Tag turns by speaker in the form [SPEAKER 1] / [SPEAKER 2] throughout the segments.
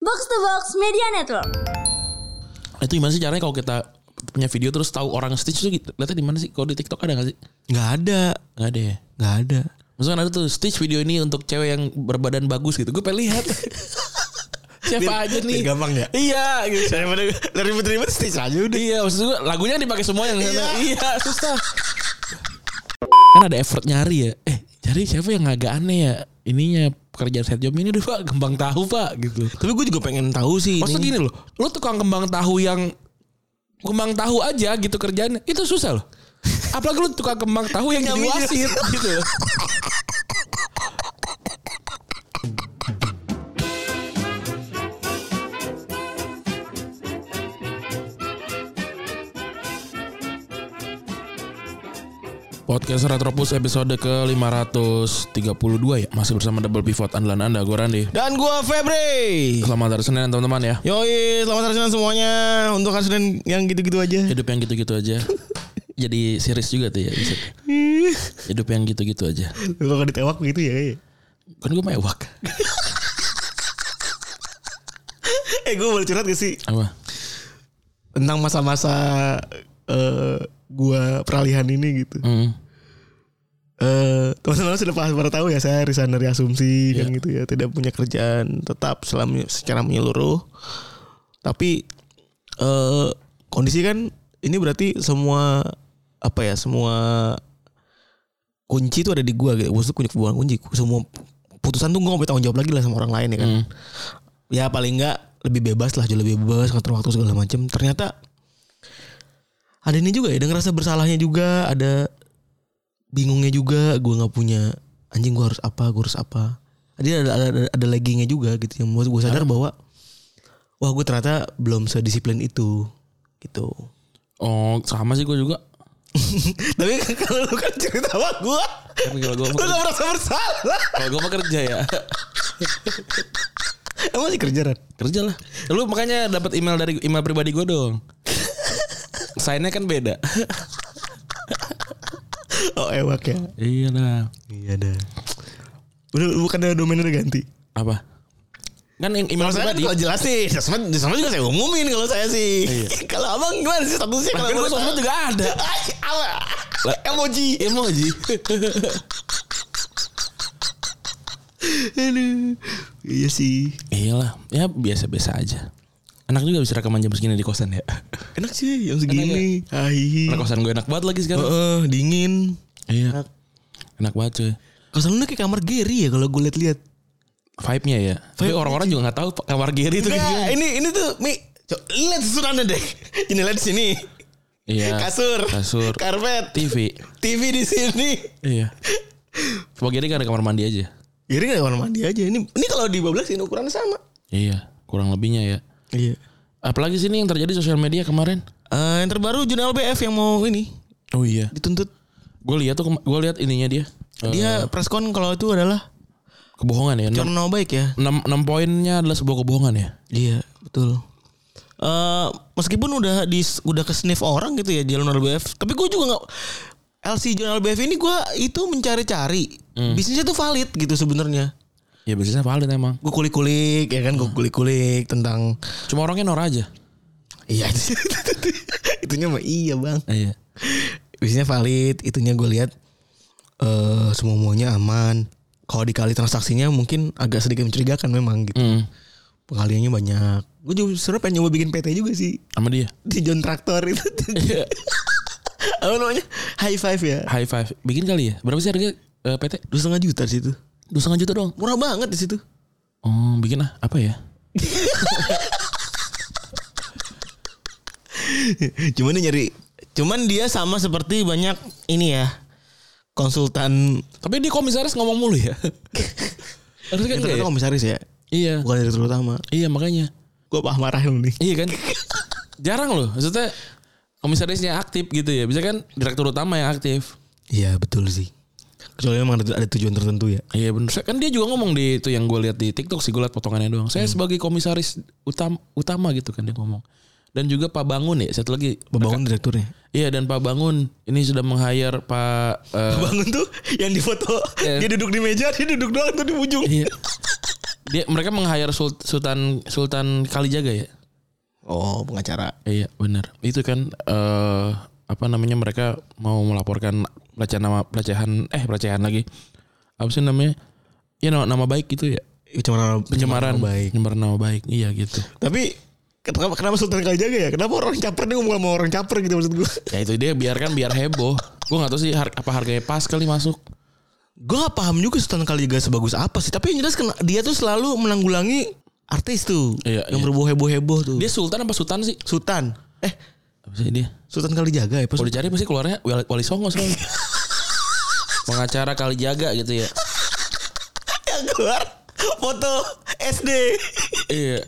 [SPEAKER 1] Box to Box Media Network.
[SPEAKER 2] Itu gimana sih caranya kalau kita punya video terus tahu orang stitch itu lihatnya di mana sih? Kalau di TikTok ada gak sih?
[SPEAKER 3] Nggak ada,
[SPEAKER 2] Gak ada ya.
[SPEAKER 3] nggak ada.
[SPEAKER 2] Maksudnya ada tuh stitch video ini untuk cewek yang berbadan bagus gitu. Gue pengen lihat. Siapa aja nih?
[SPEAKER 3] biar gampang ya?
[SPEAKER 2] Iya gitu.
[SPEAKER 3] Daripada ribet-ribet stitch aja udah.
[SPEAKER 2] Iya maksud gue lagunya yang dipakai semua yang
[SPEAKER 3] Iya.
[SPEAKER 2] iya susah. kan ada effort nyari ya. Eh cari siapa yang agak aneh ya ininya pekerjaan set job ini deh pak kembang tahu pak gitu.
[SPEAKER 3] Tapi gue juga pengen tahu sih.
[SPEAKER 2] Maksudnya
[SPEAKER 3] ini.
[SPEAKER 2] gini loh, lo tukang kembang tahu yang kembang tahu aja gitu kerjaannya itu susah loh. Apalagi lo tukang kembang tahu yang jadi
[SPEAKER 3] Nggak mikir.
[SPEAKER 2] wasit gitu. loh. Podcast Retropus episode ke 532 ya Masih bersama Double Pivot Andalan Anda, gue Randy
[SPEAKER 3] Dan gue Febri.
[SPEAKER 2] Selamat hari Senin teman-teman ya
[SPEAKER 3] Yoi, selamat hari Senin semuanya. Untuk hari Senin yang gitu-gitu aja.
[SPEAKER 2] Hidup yang gitu-gitu aja. Jadi series juga tuh ya. bisa. Hidup yang gitu-gitu aja.
[SPEAKER 3] Lu kalau ditewak begitu ya kayaknya.
[SPEAKER 2] Kan gue mewak.
[SPEAKER 3] Eh gue boleh curhat gak sih?
[SPEAKER 2] Apa?
[SPEAKER 3] Tentang masa-masa eh gua peralihan ini gitu.
[SPEAKER 2] Hmm.
[SPEAKER 3] Eh, teman-teman sudah pasti pada tahu ya saya resign dari asumsi dan gitu ya tidak punya kerjaan tetap selama secara menyeluruh tapi eh kondisi kan ini berarti semua apa ya semua kunci itu ada di gua gitu maksudnya kunci bukan kunci semua putusan tuh gua gak punya tanggung jawab lagi lah sama orang lain ya kan
[SPEAKER 2] Hmm.
[SPEAKER 3] ya paling nggak lebih bebas lah jauh lebih bebas ngatur waktu segala macam ternyata ada ini juga ya ada ngerasa bersalahnya juga ada bingungnya juga gue nggak punya anjing gue harus apa gue harus apa jadi ada ada, ada, ada laggingnya juga gitu yang membuat gue sadar bahwa wah gue ternyata belum sedisiplin itu gitu
[SPEAKER 2] Oh sama sih gue juga.
[SPEAKER 3] tapi kalau lu kan cerita sama gue
[SPEAKER 2] Tapi kalau gue
[SPEAKER 3] lu
[SPEAKER 2] mau,
[SPEAKER 3] gak merasa bersalah
[SPEAKER 2] kalau gue mau kerja ya
[SPEAKER 3] emang masih kerja Ran?
[SPEAKER 2] kerja lah. Lu makanya dapat email dari email pribadi gue dong. Sign-nya kan beda.
[SPEAKER 3] oh ewak ya
[SPEAKER 2] iya lah.
[SPEAKER 3] iya dah udah bukan ada domainnya udah ganti
[SPEAKER 2] Apa? Kan yang email
[SPEAKER 3] Kalau saya kan
[SPEAKER 2] pribadi.
[SPEAKER 3] kalau jelas sih, di sosmed, di sosmed juga saya umumin kalau saya sih. kalau abang gimana sih statusnya?
[SPEAKER 2] Kan gue
[SPEAKER 3] boleh
[SPEAKER 2] sosmed juga ada.
[SPEAKER 3] tahu? Ay, apa? Emoji.
[SPEAKER 2] Emoji.
[SPEAKER 3] Aduh. Iya sih.
[SPEAKER 2] iya lah. Ya biasa-biasa aja. Anak juga bisa rekaman jam segini di kosan ya.
[SPEAKER 3] Enak sih jam segini. Hai.
[SPEAKER 2] Nah, kosan gue enak banget lagi sekarang.
[SPEAKER 3] Heeh, dingin.
[SPEAKER 2] Iya. Enak banget cuy.
[SPEAKER 3] Kalau lu kayak kamar Gary ya kalau gue liat-liat.
[SPEAKER 2] Vibe-nya ya. Tapi orang-orang juga nggak tahu Pak, kamar Gary itu kayak gimana.
[SPEAKER 3] Nah, ini ini tuh Mi, co- lihat susurannya deh. Ini lihat di sini.
[SPEAKER 2] Iya.
[SPEAKER 3] Ah, Kasur.
[SPEAKER 2] Kasur.
[SPEAKER 3] Karpet.
[SPEAKER 2] TV.
[SPEAKER 3] TV di sini.
[SPEAKER 2] Iya. Cuma Gary kan ada kamar mandi aja.
[SPEAKER 3] Gary nggak kamar mandi aja. Ini ini kalau di 12 ini ukurannya sama.
[SPEAKER 2] Iya. Kurang lebihnya ya.
[SPEAKER 3] Iya.
[SPEAKER 2] Apalagi sini yang terjadi sosial media kemarin.
[SPEAKER 3] Eh, yang terbaru Jurnal BF yang mau ini
[SPEAKER 2] Oh iya.
[SPEAKER 3] dituntut.
[SPEAKER 2] Gue lihat tuh gue lihat ininya dia. Eh,
[SPEAKER 3] Dia preskon kalau itu adalah
[SPEAKER 2] kebohongan ya. 6,
[SPEAKER 3] Corona baik ya.
[SPEAKER 2] 6, poinnya adalah sebuah kebohongan ya.
[SPEAKER 3] Iya, betul. Eh meskipun udah di udah ke sniff orang gitu ya jalan LBF, tapi gue juga nggak LC jurnal LBF ini gue itu mencari-cari bisnisnya tuh valid gitu sebenarnya.
[SPEAKER 2] Ya biasanya valid emang.
[SPEAKER 3] Gue kulik-kulik ya kan, gue kulik-kulik tentang
[SPEAKER 2] Cuma orangnya Nora aja.
[SPEAKER 3] iya itunya mah iya bang.
[SPEAKER 2] Iya.
[SPEAKER 3] Bisnisnya valid, itunya gue lihat eh semua semuanya aman. Kalau dikali transaksinya mungkin agak sedikit mencurigakan memang gitu.
[SPEAKER 2] Hmm.
[SPEAKER 3] Pengaliannya banyak. Gue juga sebenernya pengen nyoba bikin PT juga sih.
[SPEAKER 2] Sama dia.
[SPEAKER 3] Di John Traktor itu.
[SPEAKER 2] Iya.
[SPEAKER 3] Apa namanya? High five ya.
[SPEAKER 2] High five. Bikin kali ya. Berapa sih harga eh, PT?
[SPEAKER 3] Dua setengah juta di situ.
[SPEAKER 2] Dua setengah juta doang.
[SPEAKER 3] Murah banget di situ.
[SPEAKER 2] Oh, bikin ah apa ya?
[SPEAKER 3] cuman dia nyari. Cuman dia sama seperti banyak ini ya. Konsultan.
[SPEAKER 2] Tapi dia komisaris ngomong mulu ya. Harusnya kan
[SPEAKER 3] Itu
[SPEAKER 2] enggak ya?
[SPEAKER 3] kan komisaris ya.
[SPEAKER 2] Iya.
[SPEAKER 3] Bukan direktur utama.
[SPEAKER 2] Iya makanya.
[SPEAKER 3] Gue paham marahin nih.
[SPEAKER 2] Iya kan? Jarang loh. Maksudnya komisarisnya aktif gitu ya. Bisa kan direktur utama yang aktif.
[SPEAKER 3] Iya betul sih. Kecuali memang ada, ada tujuan tertentu ya.
[SPEAKER 2] Iya bener. Saya- Kan dia juga ngomong di itu yang gue lihat di TikTok sih gue liat potongannya doang. Saya sebagai komisaris utam, utama gitu kan dia ngomong. Dan juga Pak Bangun ya satu lagi.
[SPEAKER 3] Bangun direkturnya.
[SPEAKER 2] Iya dan Pak Bangun ini sudah meng-hire Pak eh,
[SPEAKER 3] Bangun tuh yang di foto.
[SPEAKER 2] Iya.
[SPEAKER 3] Dia duduk di meja. Dia duduk doang tuh di ujung.
[SPEAKER 2] Iya. Dia mereka meng-hire Sul- Sultan Sultan Kalijaga ya?
[SPEAKER 3] Oh pengacara.
[SPEAKER 2] Iya benar. Itu kan eh apa namanya mereka mau melaporkan pelecehan nama pelecehan eh pelecehan lagi. Apa sih namanya? Ya nama, nama baik gitu ya.
[SPEAKER 3] Pencemaran,
[SPEAKER 2] Pencemaran
[SPEAKER 3] nama baik.
[SPEAKER 2] Pencemaran nama baik. Iya gitu.
[SPEAKER 3] Tapi kenapa, kenapa Sultan Kalijaga ya? Kenapa orang caper nih ngomong sama orang caper gitu maksud gue?
[SPEAKER 2] Ya itu dia biarkan biar heboh. Gue nggak tahu sih har- apa harganya pas kali masuk.
[SPEAKER 3] Gue gak paham juga Sultan Kalijaga sebagus apa sih. Tapi yang jelas kena- dia tuh selalu menanggulangi artis tuh.
[SPEAKER 2] Iya, iya.
[SPEAKER 3] yang berboh heboh heboh tuh.
[SPEAKER 2] Dia Sultan apa Sultan sih?
[SPEAKER 3] Sultan. Eh
[SPEAKER 2] Apa sih dia?
[SPEAKER 3] Sultan Kalijaga ya? Pas
[SPEAKER 2] Kalau dicari pasti keluarnya Wali, Wali Songo soalnya. Pengacara Kalijaga gitu ya.
[SPEAKER 3] yang Iya, keluar foto SD.
[SPEAKER 2] Iya.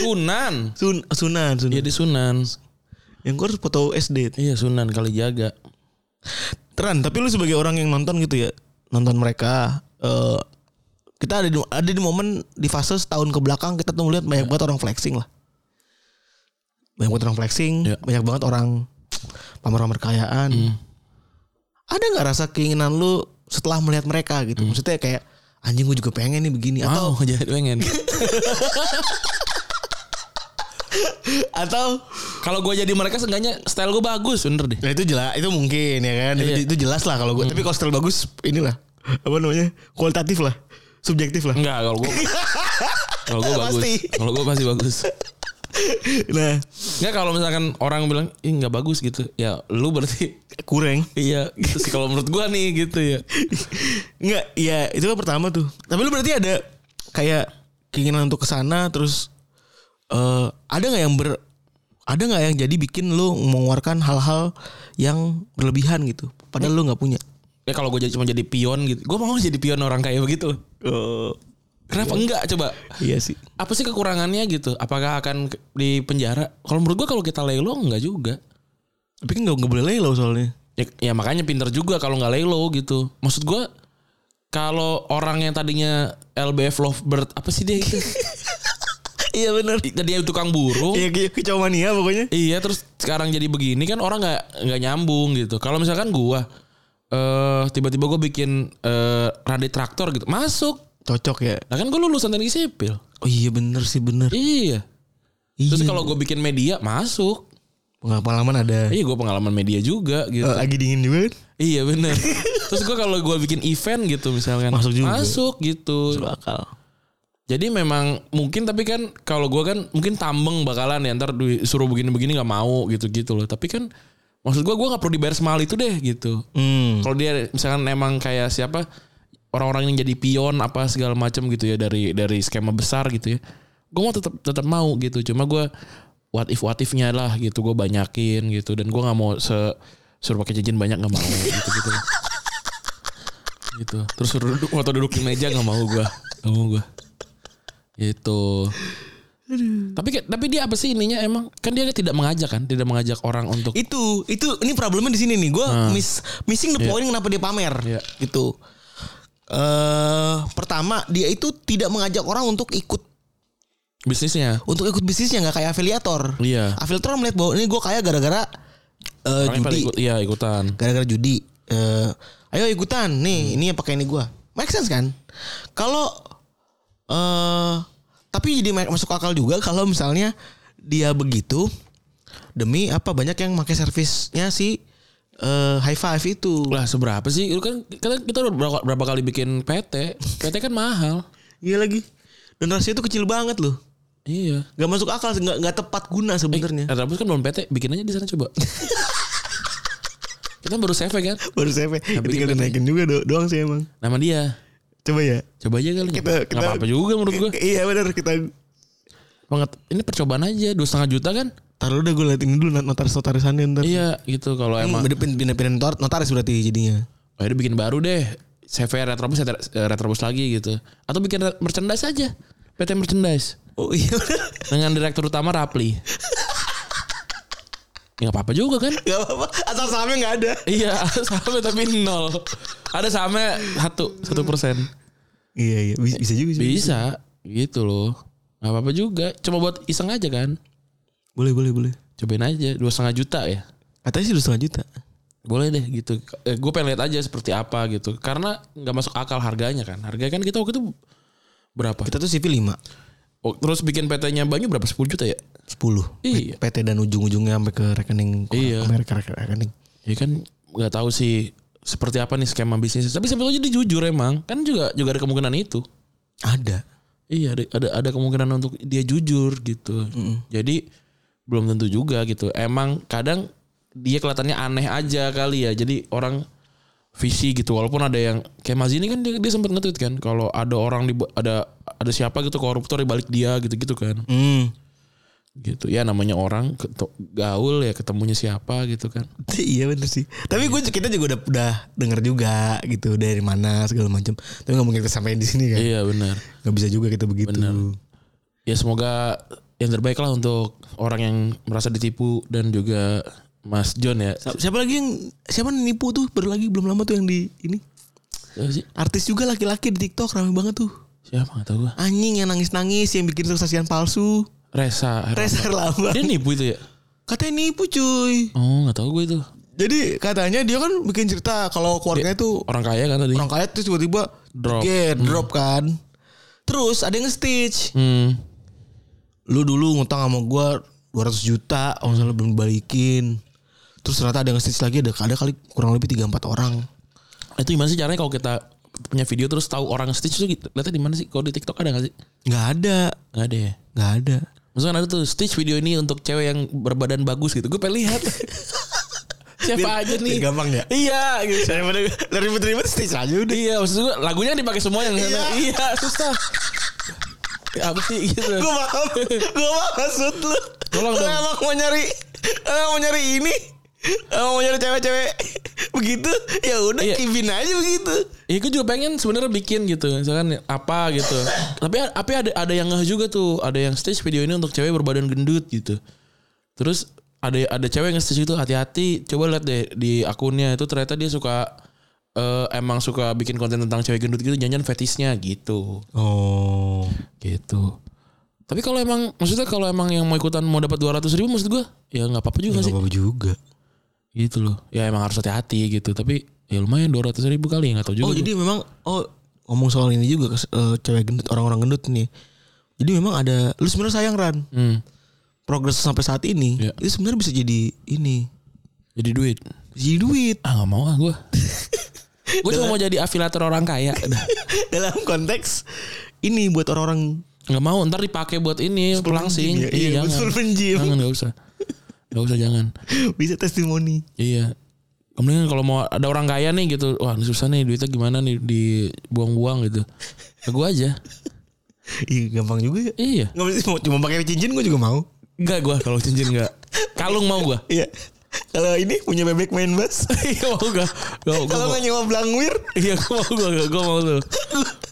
[SPEAKER 2] Sunan.
[SPEAKER 3] Sun, Sunan, Sunan.
[SPEAKER 2] Iya di Sunan.
[SPEAKER 3] Yang keluar foto SD.
[SPEAKER 2] Iya Sunan Kalijaga.
[SPEAKER 3] Teran, tapi lu sebagai orang yang nonton gitu ya, nonton mereka eh kita ada di, ada di momen di fase setahun ke belakang kita tuh melihat banyak banget orang flexing lah. Banyak banget orang flexing,
[SPEAKER 2] Iya.
[SPEAKER 3] banyak banget orang pamer-pamer kekayaan. Ada nggak rasa keinginan lu setelah melihat mereka gitu? Maksudnya kayak anjing gue juga pengen nih begini atau
[SPEAKER 2] Mau jadi pengen.
[SPEAKER 3] atau
[SPEAKER 2] Kalau gue jadi mereka seenggaknya style gue bagus bener deh.
[SPEAKER 3] Nah itu jelas, itu mungkin ya kan. Itu,
[SPEAKER 2] Iya.
[SPEAKER 3] itu jelas lah kalau gue. Tapi kalau style bagus inilah apa namanya? kualitatif lah, subjektif lah.
[SPEAKER 2] Enggak kalau gue kalau gue bagus.
[SPEAKER 3] Pasti.
[SPEAKER 2] Kalau gue pasti bagus.
[SPEAKER 3] Nah,
[SPEAKER 2] Enggak kalau misalkan orang bilang ih nggak bagus gitu. Ya lu berarti
[SPEAKER 3] kurang.
[SPEAKER 2] iya gitu sih kalau menurut gue nih gitu ya.
[SPEAKER 3] Enggak, ya itu kan pertama tuh. Tapi lu berarti ada kayak keinginan untuk ke sana terus eh ada nggak yang ber ada nggak yang jadi bikin lu mengeluarkan hal-hal yang berlebihan gitu padahal lu nggak punya
[SPEAKER 2] Ya kalau gue jadi cuma jadi pion gitu. Gue mau jadi pion orang kayak begitu. loh. Kenapa enggak coba?
[SPEAKER 3] Oh. iya sih
[SPEAKER 2] Apa sih kekurangannya gitu? Apakah akan ke- di penjara? Kalau menurut gue kalau kita lelo enggak juga.
[SPEAKER 3] tapi kan nggak nggak boleh loh soalnya
[SPEAKER 2] Ya, ya makanya pinter juga kalau nggak lelo gitu. Maksud gua kalau orang yang tadinya LBF lovebird apa sih dia itu?
[SPEAKER 3] iya benar
[SPEAKER 2] Tadinya tukang burung.
[SPEAKER 3] iya kayak kicau mania pokoknya
[SPEAKER 2] Iya terus sekarang jadi begini kan orang nggak nggak nyambung gitu. Kalau misalkan gua eh tiba-tiba gua bikin eh radit traktor gitu masuk.
[SPEAKER 3] cocok ya
[SPEAKER 2] Nah kan gua lulusan teknik sipil.
[SPEAKER 3] oh iya bener sih bener
[SPEAKER 2] Iya. Terus
[SPEAKER 3] Iya.
[SPEAKER 2] kalau gua bikin media masuk.
[SPEAKER 3] pengalaman ada
[SPEAKER 2] Iya gua pengalaman media juga gitu.
[SPEAKER 3] Eh, lagi dingin juga kan
[SPEAKER 2] Iya bener. Terus gua kalau gua bikin event gitu misalkan
[SPEAKER 3] Masuk juga.
[SPEAKER 2] masuk gitu.
[SPEAKER 3] akal
[SPEAKER 2] Jadi memang mungkin tapi kan kalau gua kan mungkin tambeng bakalan ya ntar disuruh begini-begini nggak mau gitu-gitu loh. Tapi kan maksud gua gua nggak perlu dibayar semahal itu deh gitu.
[SPEAKER 3] hmm.
[SPEAKER 2] Kalau dia misalkan emang kayak siapa orang-orang yang jadi pion apa segala macam gitu ya dari dari skema besar gitu ya. Gua mau tetap tetap mau gitu. Cuma gua what if what if-nya lah gitu gua banyakin gitu dan gua nggak mau se suruh pakai cincin banyak nggak mau gitu gitu. gitu. Terus suruh duduk foto duduk di meja nggak mau gua. Nggak mau gua. Gitu. Tapi kayak- tapi dia apa sih ininya emang kan dia tidak mengajak kan tidak mengajak orang untuk
[SPEAKER 3] itu itu ini problemnya di sini nih gue miss missing the point kenapa dia pamer
[SPEAKER 2] Hmm. Iya.
[SPEAKER 3] gitu eh pertama dia itu tidak mengajak orang untuk ikut
[SPEAKER 2] bisnisnya.
[SPEAKER 3] untuk ikut bisnisnya nggak kayak afiliator
[SPEAKER 2] Iya.
[SPEAKER 3] afiliator melihat bahwa ini gue kaya gara-gara eh,
[SPEAKER 2] Orang
[SPEAKER 3] judi
[SPEAKER 2] ikut, iya ikutan.
[SPEAKER 3] gara-gara judi eh ayo ikutan nih ini yang pakai ini gua make sense kan kalau eh tapi jadi ma- masuk akal juga kalau misalnya dia begitu demi apa banyak yang pakai servisnya si eh high five itu
[SPEAKER 2] Lah seberapa sih? Itu kan kita, kita udah berapa, berapa kali bikin PT. PT kan mahal.
[SPEAKER 3] iya lagi dan rasanya itu kecil banget loh
[SPEAKER 2] Iya.
[SPEAKER 3] nggak masuk akal nggak nggak tepat guna sebenarnya
[SPEAKER 2] Eh, Rambut kan belum PT, bikin aja di sana coba. kita baru save kan?
[SPEAKER 3] baru saya
[SPEAKER 2] bikin
[SPEAKER 3] tinggal naikin juga do- doang sih emang
[SPEAKER 2] Nama dia.
[SPEAKER 3] coba ya
[SPEAKER 2] Coba aja kali.
[SPEAKER 3] Kita-
[SPEAKER 2] Nggak
[SPEAKER 3] kita-
[SPEAKER 2] apa-apa juga menurut gua.
[SPEAKER 3] iya benar kita
[SPEAKER 2] Banget. Ini percobaan aja dua setengah juta kan?
[SPEAKER 3] taruh udah gue liatin dulu not- notaris notarisannya ntar
[SPEAKER 2] Iya gitu kalau emang.
[SPEAKER 3] Pindah pindah-pindah notar- notaris berarti jadinya.
[SPEAKER 2] Oh, ini bikin baru deh. Save retrobus eh, retrobus lagi gitu. Atau bikin re- merchandise aja. PT merchandise
[SPEAKER 3] Oh iya.
[SPEAKER 2] dengan direktur utama Rapli. Ya nggak apa-apa juga kan?
[SPEAKER 3] Gak apa-apa. Asal sahamnya gak ada.
[SPEAKER 2] Iya, ada sahamnya tapi nol. Ada sahamnya satu, satu persen.
[SPEAKER 3] Iya iya. Bisa, bisa juga sih.
[SPEAKER 2] Bisa, gitu loh. Gak apa-apa juga. Coba buat iseng aja kan.
[SPEAKER 3] Boleh boleh boleh.
[SPEAKER 2] Cobain aja, dua setengah juta ya.
[SPEAKER 3] Katanya sih udah setengah juta.
[SPEAKER 2] Boleh deh gitu. Eh, gue pengen lihat aja seperti apa gitu. Karena nggak masuk akal harganya kan. Harganya kan kita waktu itu Berapa?
[SPEAKER 3] Kita tuh CV 5
[SPEAKER 2] Oh, terus bikin PT-nya Banyu berapa? 10 juta ya?
[SPEAKER 3] 10
[SPEAKER 2] Iya.
[SPEAKER 3] PT dan ujung-ujungnya sampai ke rekening
[SPEAKER 2] Iya.
[SPEAKER 3] sampai ke rekening- rekening.
[SPEAKER 2] Ya kan nggak tahu sih seperti apa nih skema bisnisnya. Tapi sebetulnya dia jujur emang. Kan juga juga ada kemungkinan itu.
[SPEAKER 3] Ada.
[SPEAKER 2] Iya, ada ada, ada kemungkinan untuk dia jujur gitu. Jadi belum tentu juga gitu. Emang kadang dia kelihatannya aneh aja kali ya. Jadi orang visi gitu walaupun ada yang kayak Mazini kan dia, dia sempat nge-tweet kan kalau ada orang di ada ada siapa gitu koruptor di balik dia gitu-gitu kan.
[SPEAKER 3] Hmm.
[SPEAKER 2] Gitu. Ya namanya orang ketu- gaul ya ketemunya siapa gitu kan.
[SPEAKER 3] iya bener sih. Tapi gue kita juga udah udah denger juga gitu dari mana segala macam. Tapi nggak mungkin kita sampein di sini kan.
[SPEAKER 2] Iya benar.
[SPEAKER 3] Nggak bisa juga kita begitu.
[SPEAKER 2] Ya semoga yang terbaik lah untuk orang yang merasa ditipu dan juga Mas John ya.
[SPEAKER 3] Si- Siapa lagi yang siapa nipu tuh baru lagi belum lama tuh yang di ini
[SPEAKER 2] Siapa sih?
[SPEAKER 3] artis juga laki-laki di TikTok rame banget tuh.
[SPEAKER 2] Siapa nggak tahu gua.
[SPEAKER 3] Anjing yang nangis-nangis yang bikin kesaksian palsu.
[SPEAKER 2] Resa.
[SPEAKER 3] Reza
[SPEAKER 2] Dia
[SPEAKER 3] Herlambang.
[SPEAKER 2] nipu itu ya?
[SPEAKER 3] Katanya nipu cuy.
[SPEAKER 2] Oh nggak tahu gue itu.
[SPEAKER 3] Jadi katanya dia kan bikin cerita kalau keluarganya tuh
[SPEAKER 2] Orang kaya kan tadi.
[SPEAKER 3] orang kaya terus tiba-tiba
[SPEAKER 2] Drop.
[SPEAKER 3] gear, drop kan. Terus ada yang nge-stitch.
[SPEAKER 2] Hmm.
[SPEAKER 3] Lu dulu ngutang sama gua 200 juta, kalau misalnya belum balikin. Terus ternyata ada yang nge-stitch lagi ada ada kali kurang lebih 3 4 orang.
[SPEAKER 2] Itu gimana sih caranya kalau kita punya video terus tahu orang stitch itu gitu. Lihatnya di mana sih? Kalau di TikTok ada nggak sih?
[SPEAKER 3] Nggak ada,
[SPEAKER 2] Nggak ada ya.
[SPEAKER 3] nggak ada.
[SPEAKER 2] Maksudnya ada tuh stitch video ini untuk cewek yang berbadan bagus gitu. Gue pengen lihat. Siapa aja nih?
[SPEAKER 3] biar gampang ya?
[SPEAKER 2] Iya gitu.
[SPEAKER 3] Daripada ribet-ribet stitch aja udah.
[SPEAKER 2] Iya maksud gue lagunya kan dipakai semua yang
[SPEAKER 3] Iya.
[SPEAKER 2] iya susah. Apa sih gitu.
[SPEAKER 3] Gua paham, gua paham maksud lu.
[SPEAKER 2] Tolong
[SPEAKER 3] Lu
[SPEAKER 2] dong.
[SPEAKER 3] Emang mau nyari, emang mau nyari ini, emang mau nyari cewek-cewek begitu. Ya udah,
[SPEAKER 2] Iya.
[SPEAKER 3] kibin aja begitu.
[SPEAKER 2] Iya gue juga pengen sebenarnya bikin gitu misalkan apa gitu. tapi tapi ada ada yang ngeh juga tuh ada yang stage video ini untuk cewek berbadan gendut gitu. Terus ada ada cewek yang stage itu hati-hati coba lihat deh di akunnya itu ternyata dia suka eh, emang suka bikin konten tentang cewek gendut gitu jangan fetisnya gitu
[SPEAKER 3] Oh,
[SPEAKER 2] gitu. Tapi kalau emang maksudnya kalau emang yang mau ikutan mau dapat 200 ribu maksud gue ya nggak apa-apa juga sih.
[SPEAKER 3] apa-apa juga.
[SPEAKER 2] gitu loh ya emang harus hati-hati gitu tapi ya lumayan dua ratus ribu kali nggak tahu juga
[SPEAKER 3] Oh,
[SPEAKER 2] tuh.
[SPEAKER 3] jadi memang oh ngomong soal ini juga kes- eh, cewek gendut orang-orang gendut nih. Jadi memang ada lu sebenarnya sayang Ran.
[SPEAKER 2] hmm,
[SPEAKER 3] Progres sampai saat ini
[SPEAKER 2] Iya.
[SPEAKER 3] itu sebenarnya bisa jadi ini.
[SPEAKER 2] jadi duit
[SPEAKER 3] Jadi duit
[SPEAKER 2] ah nggak mau ah gue gue cuma mau jadi afilator orang kaya Udah.
[SPEAKER 3] dalam konteks ini buat orang-orang
[SPEAKER 2] nggak mau ntar dipakai buat ini pelangsing
[SPEAKER 3] penjim ya. Iya, buat full penjim.
[SPEAKER 2] jangan nggak usah nggak usah jangan
[SPEAKER 3] bisa testimoni.
[SPEAKER 2] iya kemudian kalau mau ada orang kaya nih gitu wah ini susah nih duitnya gimana nih dibuang-buang gitu ke gue aja
[SPEAKER 3] Iya, gampang juga ya.
[SPEAKER 2] iya
[SPEAKER 3] Nggak mesti mau cuma pakai cincin gue juga mau.
[SPEAKER 2] Enggak gue kalau cincin enggak kalung mau gue
[SPEAKER 3] Iya. Kalau ini punya bebek main bass.
[SPEAKER 2] iya mau gue
[SPEAKER 3] Kalau nggak nyewa blangwir,
[SPEAKER 2] iya gue mau gue gue mau tuh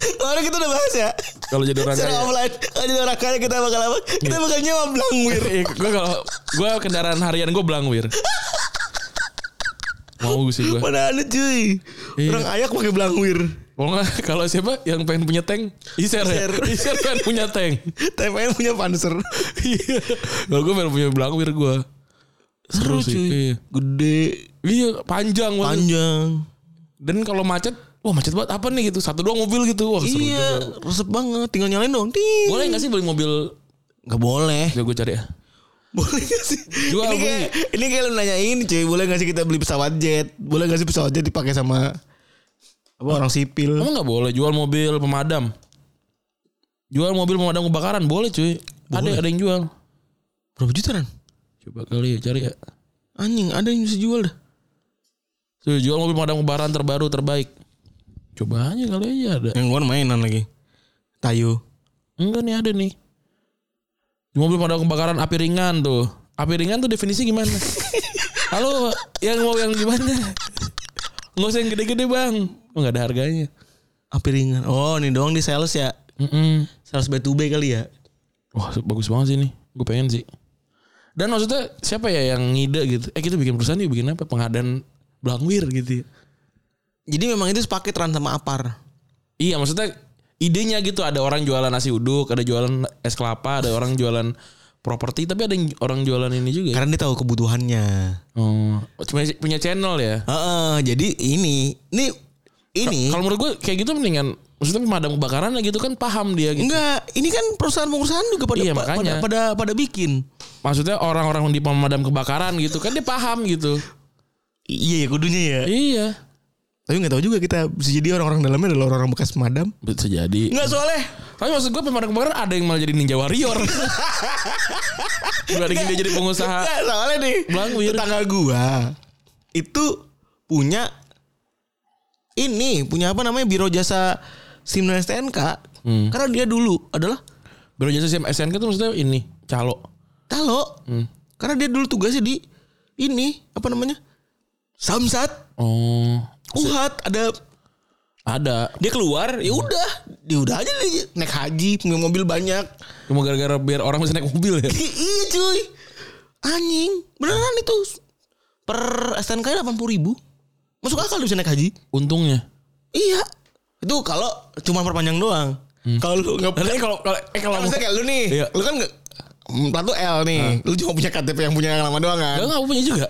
[SPEAKER 3] kemarin kita udah bahas ya.
[SPEAKER 2] kalau jadi orang
[SPEAKER 3] Secara
[SPEAKER 2] kaya Iya.
[SPEAKER 3] offline, kalau jadi orang kaya kita bakal apa? Kita bakal nyewa blangwir.
[SPEAKER 2] gue Iya, kalau gue kendaraan harian gue blangwir mau sih gue
[SPEAKER 3] Mana ada cuy
[SPEAKER 2] Iya.
[SPEAKER 3] Orang ayak pakai blangwir
[SPEAKER 2] kalau nggak kalau siapa yang pengen punya tank iser ya
[SPEAKER 3] Iser.
[SPEAKER 2] iser pengen punya tank
[SPEAKER 3] TPN punya panser
[SPEAKER 2] iya kalau gue pengen punya blangwir gue seru sih iya.
[SPEAKER 3] Gede
[SPEAKER 2] iya panjang banget
[SPEAKER 3] Panjang
[SPEAKER 2] dan kalau macet wah macet banget apa nih gitu satu doang mobil gitu wah seru juga.
[SPEAKER 3] Iya Resep banget Tinggal nyalain dong Ting.
[SPEAKER 2] boleh nggak sih beli mobil
[SPEAKER 3] Gak boleh
[SPEAKER 2] ya gue cari ya
[SPEAKER 3] Boleh gak sih
[SPEAKER 2] Jual,
[SPEAKER 3] ini, kayak, ini kayak lu nanyain cuy Boleh gak sih kita beli pesawat jet Boleh gak sih pesawat jet dipakai sama apa orang sipil
[SPEAKER 2] emang nggak boleh jual mobil pemadam jual mobil pemadam kebakaran boleh cuy
[SPEAKER 3] Boleh.
[SPEAKER 2] ada ada yang jual
[SPEAKER 3] Berapa jutaan?
[SPEAKER 2] Coba kali ya cari ya.
[SPEAKER 3] Anjing ada yang bisa jual dah
[SPEAKER 2] Tuh, jual mobil pemadam kebakaran terbaru terbaik. Coba aja kali aja ada.
[SPEAKER 3] Yang gue mainan lagi Tayo
[SPEAKER 2] Enggak nih ada nih. Mobil pemadam kebakaran api ringan tuh. Api ringan tuh definisi gimana? Halo, yang mau yang gimana? Nggak usah yang gede-gede bang. Oh, nggak ada harganya.
[SPEAKER 3] Api ringan Oh ini doang di sales ya
[SPEAKER 2] Mm-mm.
[SPEAKER 3] Sales B2B kali ya
[SPEAKER 2] Wah bagus banget sih nih. Gue pengen sih. Dan maksudnya siapa ya yang ngide gitu? Eh kita bikin perusahaan yuk bikin apa? Pengadaan blangwir gitu. ya.
[SPEAKER 3] Jadi memang itu sepaket ran sama apar.
[SPEAKER 2] Iya maksudnya idenya gitu ada orang jualan nasi uduk, ada jualan es kelapa, ada orang jualan properti, tapi ada yang- orang jualan ini juga. ya?
[SPEAKER 3] Karena dia tahu kebutuhannya.
[SPEAKER 2] Oh, cuma punya channel ya.
[SPEAKER 3] Heeh, jadi ini ini ini
[SPEAKER 2] Kalau menurut gue kayak gitu mendingan maksudnya pemadam kebakaran gitu kan paham dia gitu.
[SPEAKER 3] enggak ini kan perusahaan pengurusan juga pada
[SPEAKER 2] Iya,
[SPEAKER 3] pa-
[SPEAKER 2] makanya.
[SPEAKER 3] pada, pada pada bikin
[SPEAKER 2] Maksudnya orang-orang di pemadam kebakaran gitu kan dia paham gitu.
[SPEAKER 3] iya ya kudunya ya
[SPEAKER 2] iya.
[SPEAKER 3] tapi nggak tahu juga kita bisa jadi orang-orang dalamnya adalah orang-orang bekas pemadam
[SPEAKER 2] Bisa jadi.
[SPEAKER 3] nggak soaleh
[SPEAKER 2] Tapi maksud gue pemadam kebakaran ada yang malah jadi ninja warrior. Gak ada yang dia jadi pengusaha.
[SPEAKER 3] nggak soalnya nih
[SPEAKER 2] Bang, Wir.
[SPEAKER 3] tetangga gua itu punya ini punya apa namanya biro jasa SIM dan STNK karena dia dulu adalah
[SPEAKER 2] Biro jasa SIM SNK tuh maksudnya ini calo.
[SPEAKER 3] calo karena dia dulu tugasnya di ini apa namanya samsat
[SPEAKER 2] Oh,
[SPEAKER 3] Uhat ada
[SPEAKER 2] ada.
[SPEAKER 3] dia keluar ya udah dia udah aja dia naik haji punya mobil banyak
[SPEAKER 2] Cuma gara-gara biar orang bisa naik mobil ya.
[SPEAKER 3] I- iya cuy anjing beneran itu per STNK delapan puluh ribu masuk akal lu bisa naik haji
[SPEAKER 2] Untungnya.
[SPEAKER 3] iya itu kalau cuma perpanjang doang kalau lu nggak
[SPEAKER 2] Tapi kalau kalau eh kalau
[SPEAKER 3] maksudnya kayak lu nih
[SPEAKER 2] Iya.
[SPEAKER 3] lu kan nggak mm, plat lu L nih lu cuma punya KTP yang punya yang lama doang kan
[SPEAKER 2] Enggak enggak punya juga.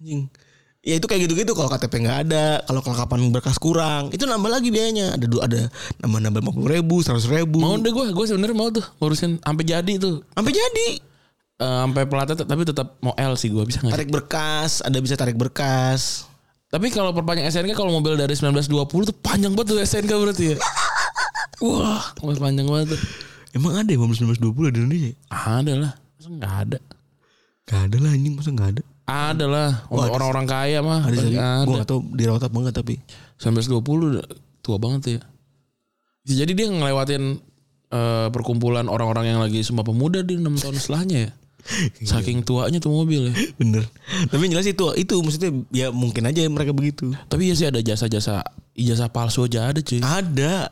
[SPEAKER 3] anjing ya itu kayak gitu-gitu kalau KTP nggak ada kalau kelengkapan berkas kurang itu nambah lagi biayanya ada dua ada nambah-nambah lima puluh ribu seratus ribu
[SPEAKER 2] Mau deh gue, gue sebenarnya mau tuh ngurusin sampai jadi tuh.
[SPEAKER 3] sampai jadi
[SPEAKER 2] Eh, sampai pelatih tapi tetap mau L sih gue bisa nggak? sih?
[SPEAKER 3] tarik berkas ada bisa tarik berkas
[SPEAKER 2] Tapi kalau perpanjang SNK kalau mobil dari 1920 tuh panjang banget tuh SNK berarti ya. Wah, mobil panjang banget tuh.
[SPEAKER 3] emang ada ya 1920 di Indonesia
[SPEAKER 2] Ada lah. Masa nggak ada?
[SPEAKER 3] Gak ada lah anjing masa gak ada
[SPEAKER 2] Ada lah. Untuk orang-orang kaya mah.
[SPEAKER 3] ada
[SPEAKER 2] pasti
[SPEAKER 3] sih
[SPEAKER 2] Ada.
[SPEAKER 3] gue gak tau dirawat apa enggak tapi
[SPEAKER 2] 1920 udah tua banget tuh ya. Ya, Jadi dia ngelewatin eh, perkumpulan orang-orang yang lagi sumpah pemuda di 6 tahun setelahnya ya. Saking tuanya tuh mobil ya.
[SPEAKER 3] bener tapi yang jelas itu itu maksudnya ya mungkin aja mereka begitu
[SPEAKER 2] Tapi ya sih ada jasa-jasa ijazah palsu aja ada cuy.
[SPEAKER 3] ada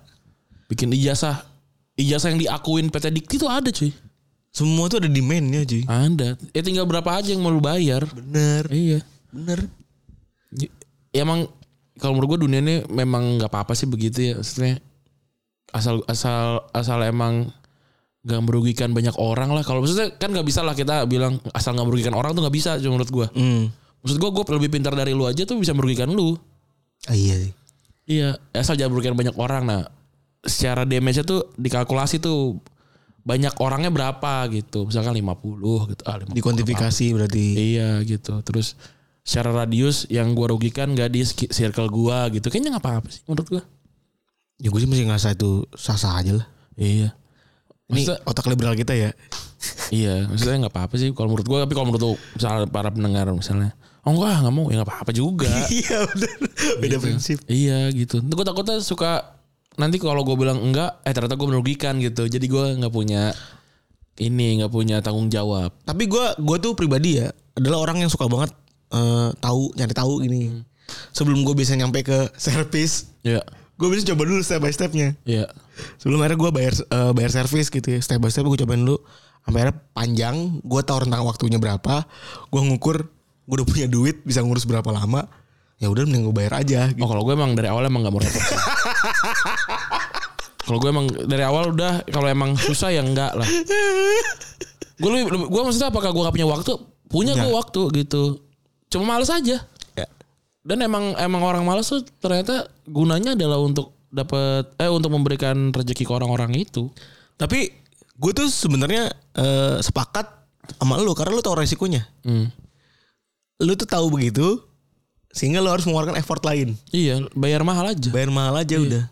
[SPEAKER 2] Bikin ijazah ijazah yang diakuin PT Dikti tuh ada cuy.
[SPEAKER 3] semua tuh ada demandnya cuy
[SPEAKER 2] Ada. Ya tinggal berapa aja yang mau lu bayar.
[SPEAKER 3] bener
[SPEAKER 2] Iya.
[SPEAKER 3] bener
[SPEAKER 2] Ya, emang kalau menurut gue dunia ini memang nggak apa-apa sih begitu ya. Maksudnya asal asal asal emang nggak merugikan banyak orang lah. Kalau maksudnya kan nggak bisa lah kita bilang asal nggak merugikan orang tuh nggak bisa. Cuma menurut gue.
[SPEAKER 3] hmm.
[SPEAKER 2] Maksud gue gue lebih pintar dari lu aja tuh bisa merugikan lu.
[SPEAKER 3] ah, iya sih
[SPEAKER 2] Iya. Asal jangan merugikan banyak orang. Nah secara damage-nya tuh dikalkulasi tuh banyak orangnya berapa gitu. Misalkan 50 gitu. Ah, 50
[SPEAKER 3] dikuantifikasi berarti
[SPEAKER 2] Iya gitu. Terus secara radius yang gua rugikan gak di ski- circle gua gitu. Kayaknya nggak apa-apa sih menurut gua.
[SPEAKER 3] ya gue sih masih ngerasa itu sah-sah aja lah
[SPEAKER 2] Iya.
[SPEAKER 3] ini
[SPEAKER 2] Maksudnya,
[SPEAKER 3] otak liberal kita ya
[SPEAKER 2] iya, maksudnya nggak apa-apa sih kalau menurut gua. Tapi kalau menurut lu, misalnya para pendengar misalnya, oh enggak nggak mau, ya nggak apa-apa juga.
[SPEAKER 3] iya bener beda prinsip
[SPEAKER 2] iya gitu. Tuh gua takutnya suka nanti kalau gua bilang enggak, eh ternyata gua merugikan gitu. Jadi gua nggak punya ini, nggak punya tanggung jawab.
[SPEAKER 3] tapi gue gue tuh pribadi ya adalah orang yang suka banget eh, tahu nyari tahu gini sebelum gue bisa nyampe ke service
[SPEAKER 2] Iya,
[SPEAKER 3] gue bisa coba dulu step by stepnya
[SPEAKER 2] iya.
[SPEAKER 3] sebelum akhirnya gue bayar eh, bayar service gitu ya step by step gue cobain dulu sampai akhirnya panjang gue tahu rentang waktunya berapa gue ngukur gue udah punya duit bisa ngurus berapa lama ya udah mending gue bayar aja gitu.
[SPEAKER 2] Oh kalau gue emang dari awal emang gak mau repot. sih. kalau gue emang dari awal udah kalau emang susah ya enggak lah. Gue lebih, lebih- gue maksudnya apakah gue gak punya waktu? Punya gue
[SPEAKER 3] Punya.
[SPEAKER 2] waktu gitu. Cuma males aja.
[SPEAKER 3] Ya.
[SPEAKER 2] Dan emang emang orang males tuh ternyata gunanya adalah untuk dapat eh untuk memberikan rezeki ke orang-orang itu.
[SPEAKER 3] tapi gue tuh sebenarnya eh, sepakat sama lu karena lu tahu resikonya
[SPEAKER 2] Hmm.
[SPEAKER 3] lu tuh tahu begitu sehingga lu harus mengeluarkan effort lain
[SPEAKER 2] Iya, bayar mahal aja.
[SPEAKER 3] bayar mahal aja udah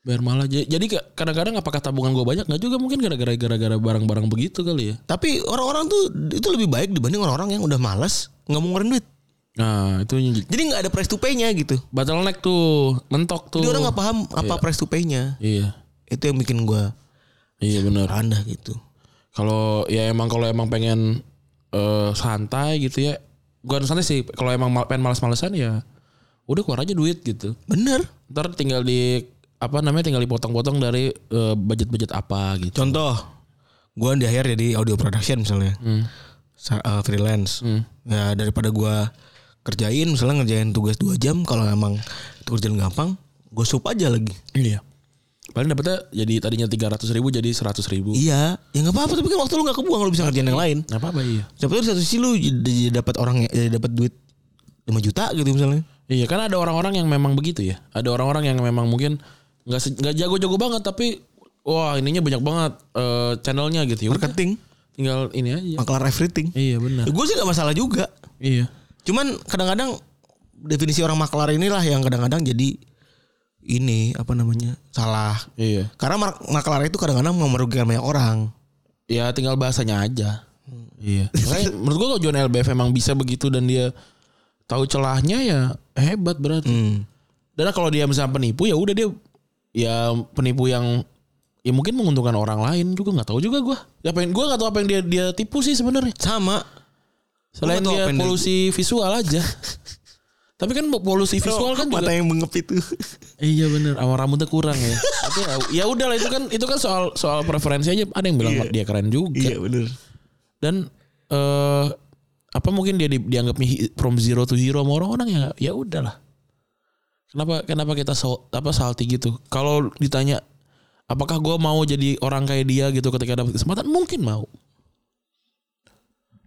[SPEAKER 2] Bayar mahal aja. Jadi ke- kadang-kadang apakah tabungan gue banyak nggak juga mungkin gara-gara gara-gara barang-barang begitu kali ya.
[SPEAKER 3] tapi orang-orang tuh itu lebih baik dibanding orang-orang yang udah males nggak mau ngeluarin duit
[SPEAKER 2] Nah, itu
[SPEAKER 3] jadi nggak ada price to pay-nya gitu
[SPEAKER 2] bottleneck tuh, mentok tuh.
[SPEAKER 3] jadi orang nggak paham apa price to pay-nya
[SPEAKER 2] Iya.
[SPEAKER 3] itu yang bikin gua
[SPEAKER 2] Iya benar.
[SPEAKER 3] rendah gitu
[SPEAKER 2] Kalau ya emang kalau emang pengen eh, santai gitu ya, gua santai sih. Kalau emang mal- pengen malas-malesan ya, udah keluar aja duit gitu.
[SPEAKER 3] bener
[SPEAKER 2] Ntar tinggal di apa namanya tinggal dipotong-potong dari eh, budget-budget apa gitu.
[SPEAKER 3] contoh gua di akhir jadi audio production misalnya Sa- eh, freelance ya daripada gua kerjain misalnya ngerjain tugas dua jam kalau emang itu kerjaan gampang gue sup aja lagi
[SPEAKER 2] Iya. Paling dapetnya jadi tadinya 300 ribu jadi 100 ribu.
[SPEAKER 3] iya ya nggak apa-apa tapi kan waktu lu nggak kebuang lu bisa ngerjain yang lain
[SPEAKER 2] Gak apa-apa iya.
[SPEAKER 3] ya, Siapa tahu di satu sisi lu jadi dapat orang jadi dapat duit 5 juta gitu misalnya.
[SPEAKER 2] Iya, karena ada orang-orang yang memang begitu ya. Ada orang-orang yang memang mungkin nggak se- nggak jago-jago banget tapi wah ininya banyak banget eh, channelnya gitu. Ya udah,
[SPEAKER 3] Marketing,
[SPEAKER 2] tinggal ini aja.
[SPEAKER 3] maklar everything.
[SPEAKER 2] Iya benar.
[SPEAKER 3] Gue sih gak masalah juga.
[SPEAKER 2] Iya.
[SPEAKER 3] Cuman kadang-kadang definisi orang maklar inilah yang kadang-kadang jadi ini apa namanya salah.
[SPEAKER 2] Iya.
[SPEAKER 3] Karena mak- maklar itu kadang-kadang memerugikan banyak orang.
[SPEAKER 2] Ya tinggal bahasanya aja. Iya. Makanya menurut gua kalau John LBF emang bisa begitu dan dia tahu celahnya ya hebat berarti.
[SPEAKER 3] Hmm.
[SPEAKER 2] Dan kalau dia misalnya penipu ya udah dia ya penipu yang ya mungkin menguntungkan orang lain juga nggak tahu juga gua. Ya pengen gua nggak tahu apa yang dia dia tipu sih sebenarnya.
[SPEAKER 3] Sama.
[SPEAKER 2] Selain
[SPEAKER 3] Gua nggak tahu
[SPEAKER 2] dia
[SPEAKER 3] apa yang dia-
[SPEAKER 2] polusi visual aja. Tapi kan polusi visual kan
[SPEAKER 3] mata
[SPEAKER 2] juga
[SPEAKER 3] yang mengep itu.
[SPEAKER 2] Iya bener Sama rambutnya kurang ya Tapi ya, ya udah lah itu kan Itu kan soal soal preferensi aja Ada yang bilang
[SPEAKER 3] Iya.
[SPEAKER 2] dia keren juga
[SPEAKER 3] bener.
[SPEAKER 2] Dan eh Apa mungkin dia di- dianggapnya hi- From zero to hero sama orang-orang ya Ya udahlah Kenapa kenapa kita so, apa salty gitu Kalau ditanya Apakah gue mau jadi orang kayak dia gitu Ketika dapat kesempatan Mungkin mau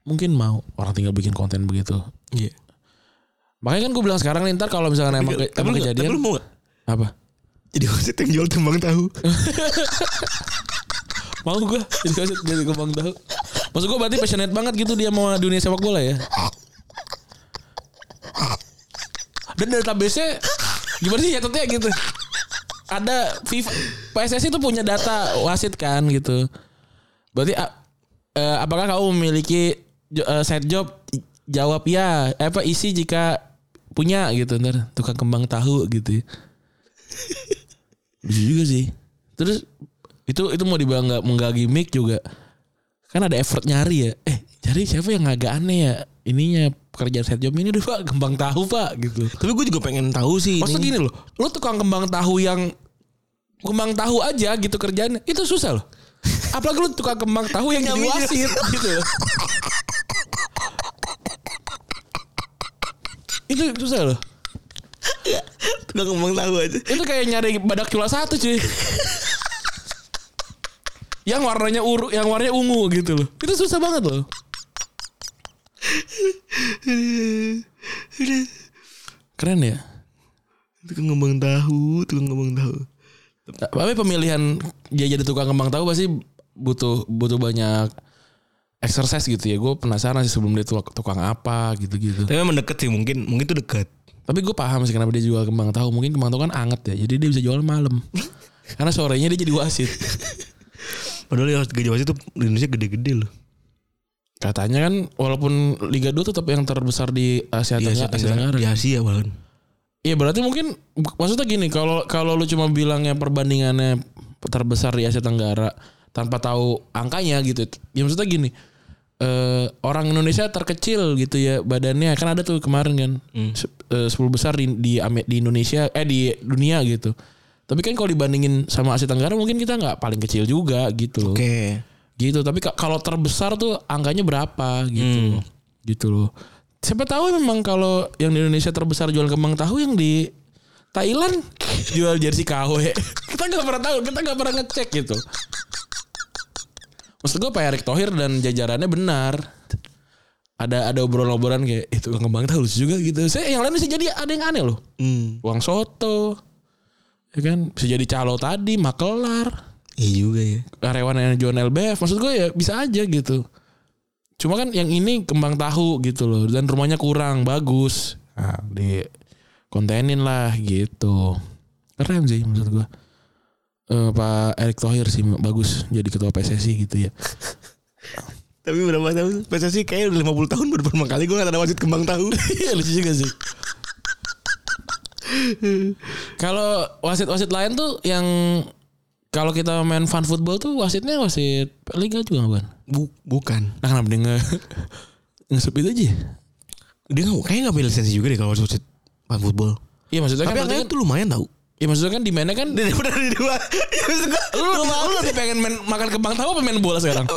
[SPEAKER 2] Mungkin mau Orang tinggal bikin konten begitu
[SPEAKER 3] Iya.
[SPEAKER 2] Makanya kan gue bilang sekarang nih Ntar kalau misalnya emang, ke- emang kejadian
[SPEAKER 3] lu mau gak?
[SPEAKER 2] Apa?
[SPEAKER 3] Jadi wasit yang jual tembang tahu.
[SPEAKER 2] Mau gue jadi wasit jadi kembang tahu. Maksud gue berarti passionate banget gitu dia mau dunia sepak bola ya. Dan database-nya gimana sih catatnya gitu. Ada FIFA PSSI itu punya data wasit kan gitu. Berarti a- eh, apakah kamu memiliki jo- eh, side job jawab ya Eh, apa isi jika punya gitu ntar tukang kembang tahu gitu ya. Lucu juga sih. Terus itu itu mau dibilang nggak nggak gimmick juga. Kan ada effort nyari ya. Eh, cari siapa yang agak aneh ya? Ininya pekerjaan set job ini udah Pak, kembang tahu Pak gitu.
[SPEAKER 3] Tapi gue juga pengen tahu sih.
[SPEAKER 2] Maksudnya
[SPEAKER 3] ini.
[SPEAKER 2] gini loh, lo tukang kembang tahu yang kembang tahu aja gitu kerjaan itu susah loh. Apalagi lu tukang kembang tahu yang jadi
[SPEAKER 3] Nyaminya.
[SPEAKER 2] wasit gitu loh. itu susah loh.
[SPEAKER 3] Tukang kembang tahu aja.
[SPEAKER 2] Itu kayak nyari badak cula satu cuy. yang warnanya uru, yang warnanya ungu gitu loh. Itu susah banget loh. Keren ya.
[SPEAKER 3] Tukang kembang tahu, tukang kembang tahu.
[SPEAKER 2] Tapi pemilihan dia jadi tukang kembang tahu pasti butuh butuh banyak exercise gitu ya. Gue penasaran sih sebelum dia tuk- tukang apa gitu-gitu.
[SPEAKER 3] Tapi emang deket sih mungkin, mungkin itu deket.
[SPEAKER 2] Tapi gue paham sih kenapa dia jual kembang tahu. Mungkin kembang tahu kan anget ya. Jadi dia bisa jual malam. Karena sorenya dia jadi wasit.
[SPEAKER 3] Padahal yang harus gaji wasit itu di Indonesia gede-gede loh.
[SPEAKER 2] Katanya kan walaupun Liga 2 tetap yang terbesar di Asia,
[SPEAKER 3] Di
[SPEAKER 2] Tenggara, Asia
[SPEAKER 3] Asia Tenggara,
[SPEAKER 2] Tenggara.
[SPEAKER 3] Iya, di Asia bahkan.
[SPEAKER 2] Iya berarti mungkin maksudnya gini kalau kalau lu cuma bilangnya perbandingannya terbesar di Asia Tenggara tanpa tahu angkanya gitu. Ya maksudnya gini. eh orang Indonesia terkecil gitu ya badannya kan ada tuh kemarin kan se- eh, 10 besar di, di Ame- di Indonesia eh di dunia gitu. Tapi kan kalau dibandingin sama Asia Tenggara mungkin kita nggak paling kecil juga gitu loh
[SPEAKER 3] Oke.
[SPEAKER 2] gitu tapi ka- kalau terbesar tuh angkanya berapa gitu loh. gitu loh siapa tahu memang kalau yang di Indonesia terbesar jual kembang tahu yang di Thailand jual jersey KW kita nggak pernah tahu kita nggak pernah ngecek gitu maksud gue Pak Erick Thohir dan jajarannya benar ada ada obrolan-obrolan kayak itu kembang tahu lucu juga gitu saya yang lain bisa jadi ada yang aneh loh
[SPEAKER 3] Hmm.
[SPEAKER 2] uang soto ya kan bisa jadi calo tadi makelar
[SPEAKER 3] Iya juga ya.
[SPEAKER 2] karyawan yang jualan LBF maksud gue ya bisa aja gitu cuma kan yang ini kembang tahu gitu loh dan rumahnya kurang bagus nah, di kontenin lah gitu keren sih maksud gue Eh, Pak Erick Thohir sih bagus jadi ketua PSSI gitu ya
[SPEAKER 3] Tapi berapa tahun? PSSI kayaknya udah 50 tahun baru pertama kali gue gak ada wasit kembang tahu.
[SPEAKER 2] Iya lucu juga sih. kalau wasit-wasit lain tuh yang kalau kita main fun football tuh wasitnya wasit liga juga bukan?
[SPEAKER 3] Bu, bukan.
[SPEAKER 2] Nah kenapa dia nge ngesep itu aja? ya?
[SPEAKER 3] Dia nggak kayaknya nggak punya lisensi juga deh kalau wasit pan football.
[SPEAKER 2] Iya maksudnya kan,
[SPEAKER 3] Tapi
[SPEAKER 2] berarti
[SPEAKER 3] angkanya
[SPEAKER 2] kan
[SPEAKER 3] tuh lumayan tau.
[SPEAKER 2] Iya maksudnya kan demandnya kan
[SPEAKER 3] Dari daripada di dua. Ya, maksud gua,
[SPEAKER 2] Lu, lu, lu lebih pengen main, makan kembang tahu apa main bola sekarang?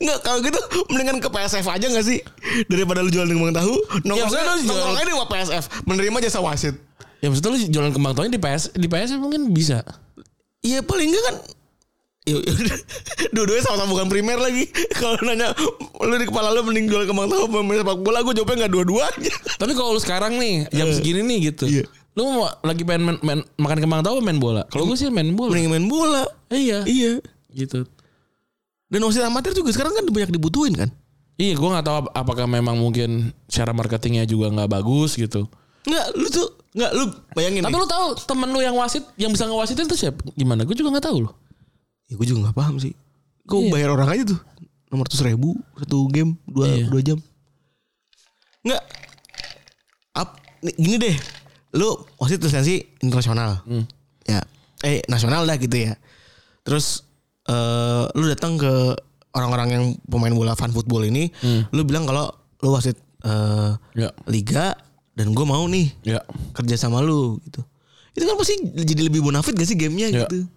[SPEAKER 3] Nggak kalau gitu mendingan ke PSF aja nggak sih daripada lu jualan kembang tahu. Nongkrong
[SPEAKER 2] maksudnya lu jual-
[SPEAKER 3] nongkrong aja di PSF menerima jasa wasit.
[SPEAKER 2] Iya, ya maksudnya lu jualan kembang tahunya di PS di PS mungkin bisa.
[SPEAKER 3] Iya paling nggak kan Yuk, yuk. Dua-duanya sama-sama bukan primer lagi. Kalau nanya lu di kepala lu mending jual kembang tahu apa main sepak bola, gue jawabnya nggak dua-duanya.
[SPEAKER 2] Tapi kalau lu sekarang nih jam segini nih gitu.
[SPEAKER 3] Iya.
[SPEAKER 2] Lu mau lagi pengen main, main- makan kembang tahu apa main bola? Kalau gue sih main bola.
[SPEAKER 3] Mending main bola.
[SPEAKER 2] Iya.
[SPEAKER 3] Iya.
[SPEAKER 2] Gitu.
[SPEAKER 3] Dan wasit amatir juga sekarang kan banyak dibutuhin kan?
[SPEAKER 2] Iya, gue nggak tahu ap- apakah memang mungkin cara marketingnya juga nggak bagus gitu.
[SPEAKER 3] Enggak, lu tuh enggak lu bayangin.
[SPEAKER 2] Tapi
[SPEAKER 3] nih.
[SPEAKER 2] lu tahu temen lu yang wasit, yang bisa ngewasitin itu siapa? Gimana? Gue juga nggak tahu loh.
[SPEAKER 3] Ya gue juga gak paham sih. Kau
[SPEAKER 2] Iya.
[SPEAKER 3] bayar orang aja tuh. Nomor ratus ribu satu game dua,
[SPEAKER 2] Iya.
[SPEAKER 3] dua jam. Nggak. Up, nih, gini deh. Lu wasit lisensi internasional.
[SPEAKER 2] Hmm.
[SPEAKER 3] Ya. Eh nasional dah gitu ya. Terus eh lu datang ke orang-orang yang pemain bola fan football ini, lu bilang kalau lu wasit eh,
[SPEAKER 2] Hmm. Ya.
[SPEAKER 3] liga dan gue mau nih
[SPEAKER 2] Ya.
[SPEAKER 3] kerja sama lu gitu itu kan pasti jadi lebih bonafit gak sih gamenya
[SPEAKER 2] Iya.
[SPEAKER 3] gitu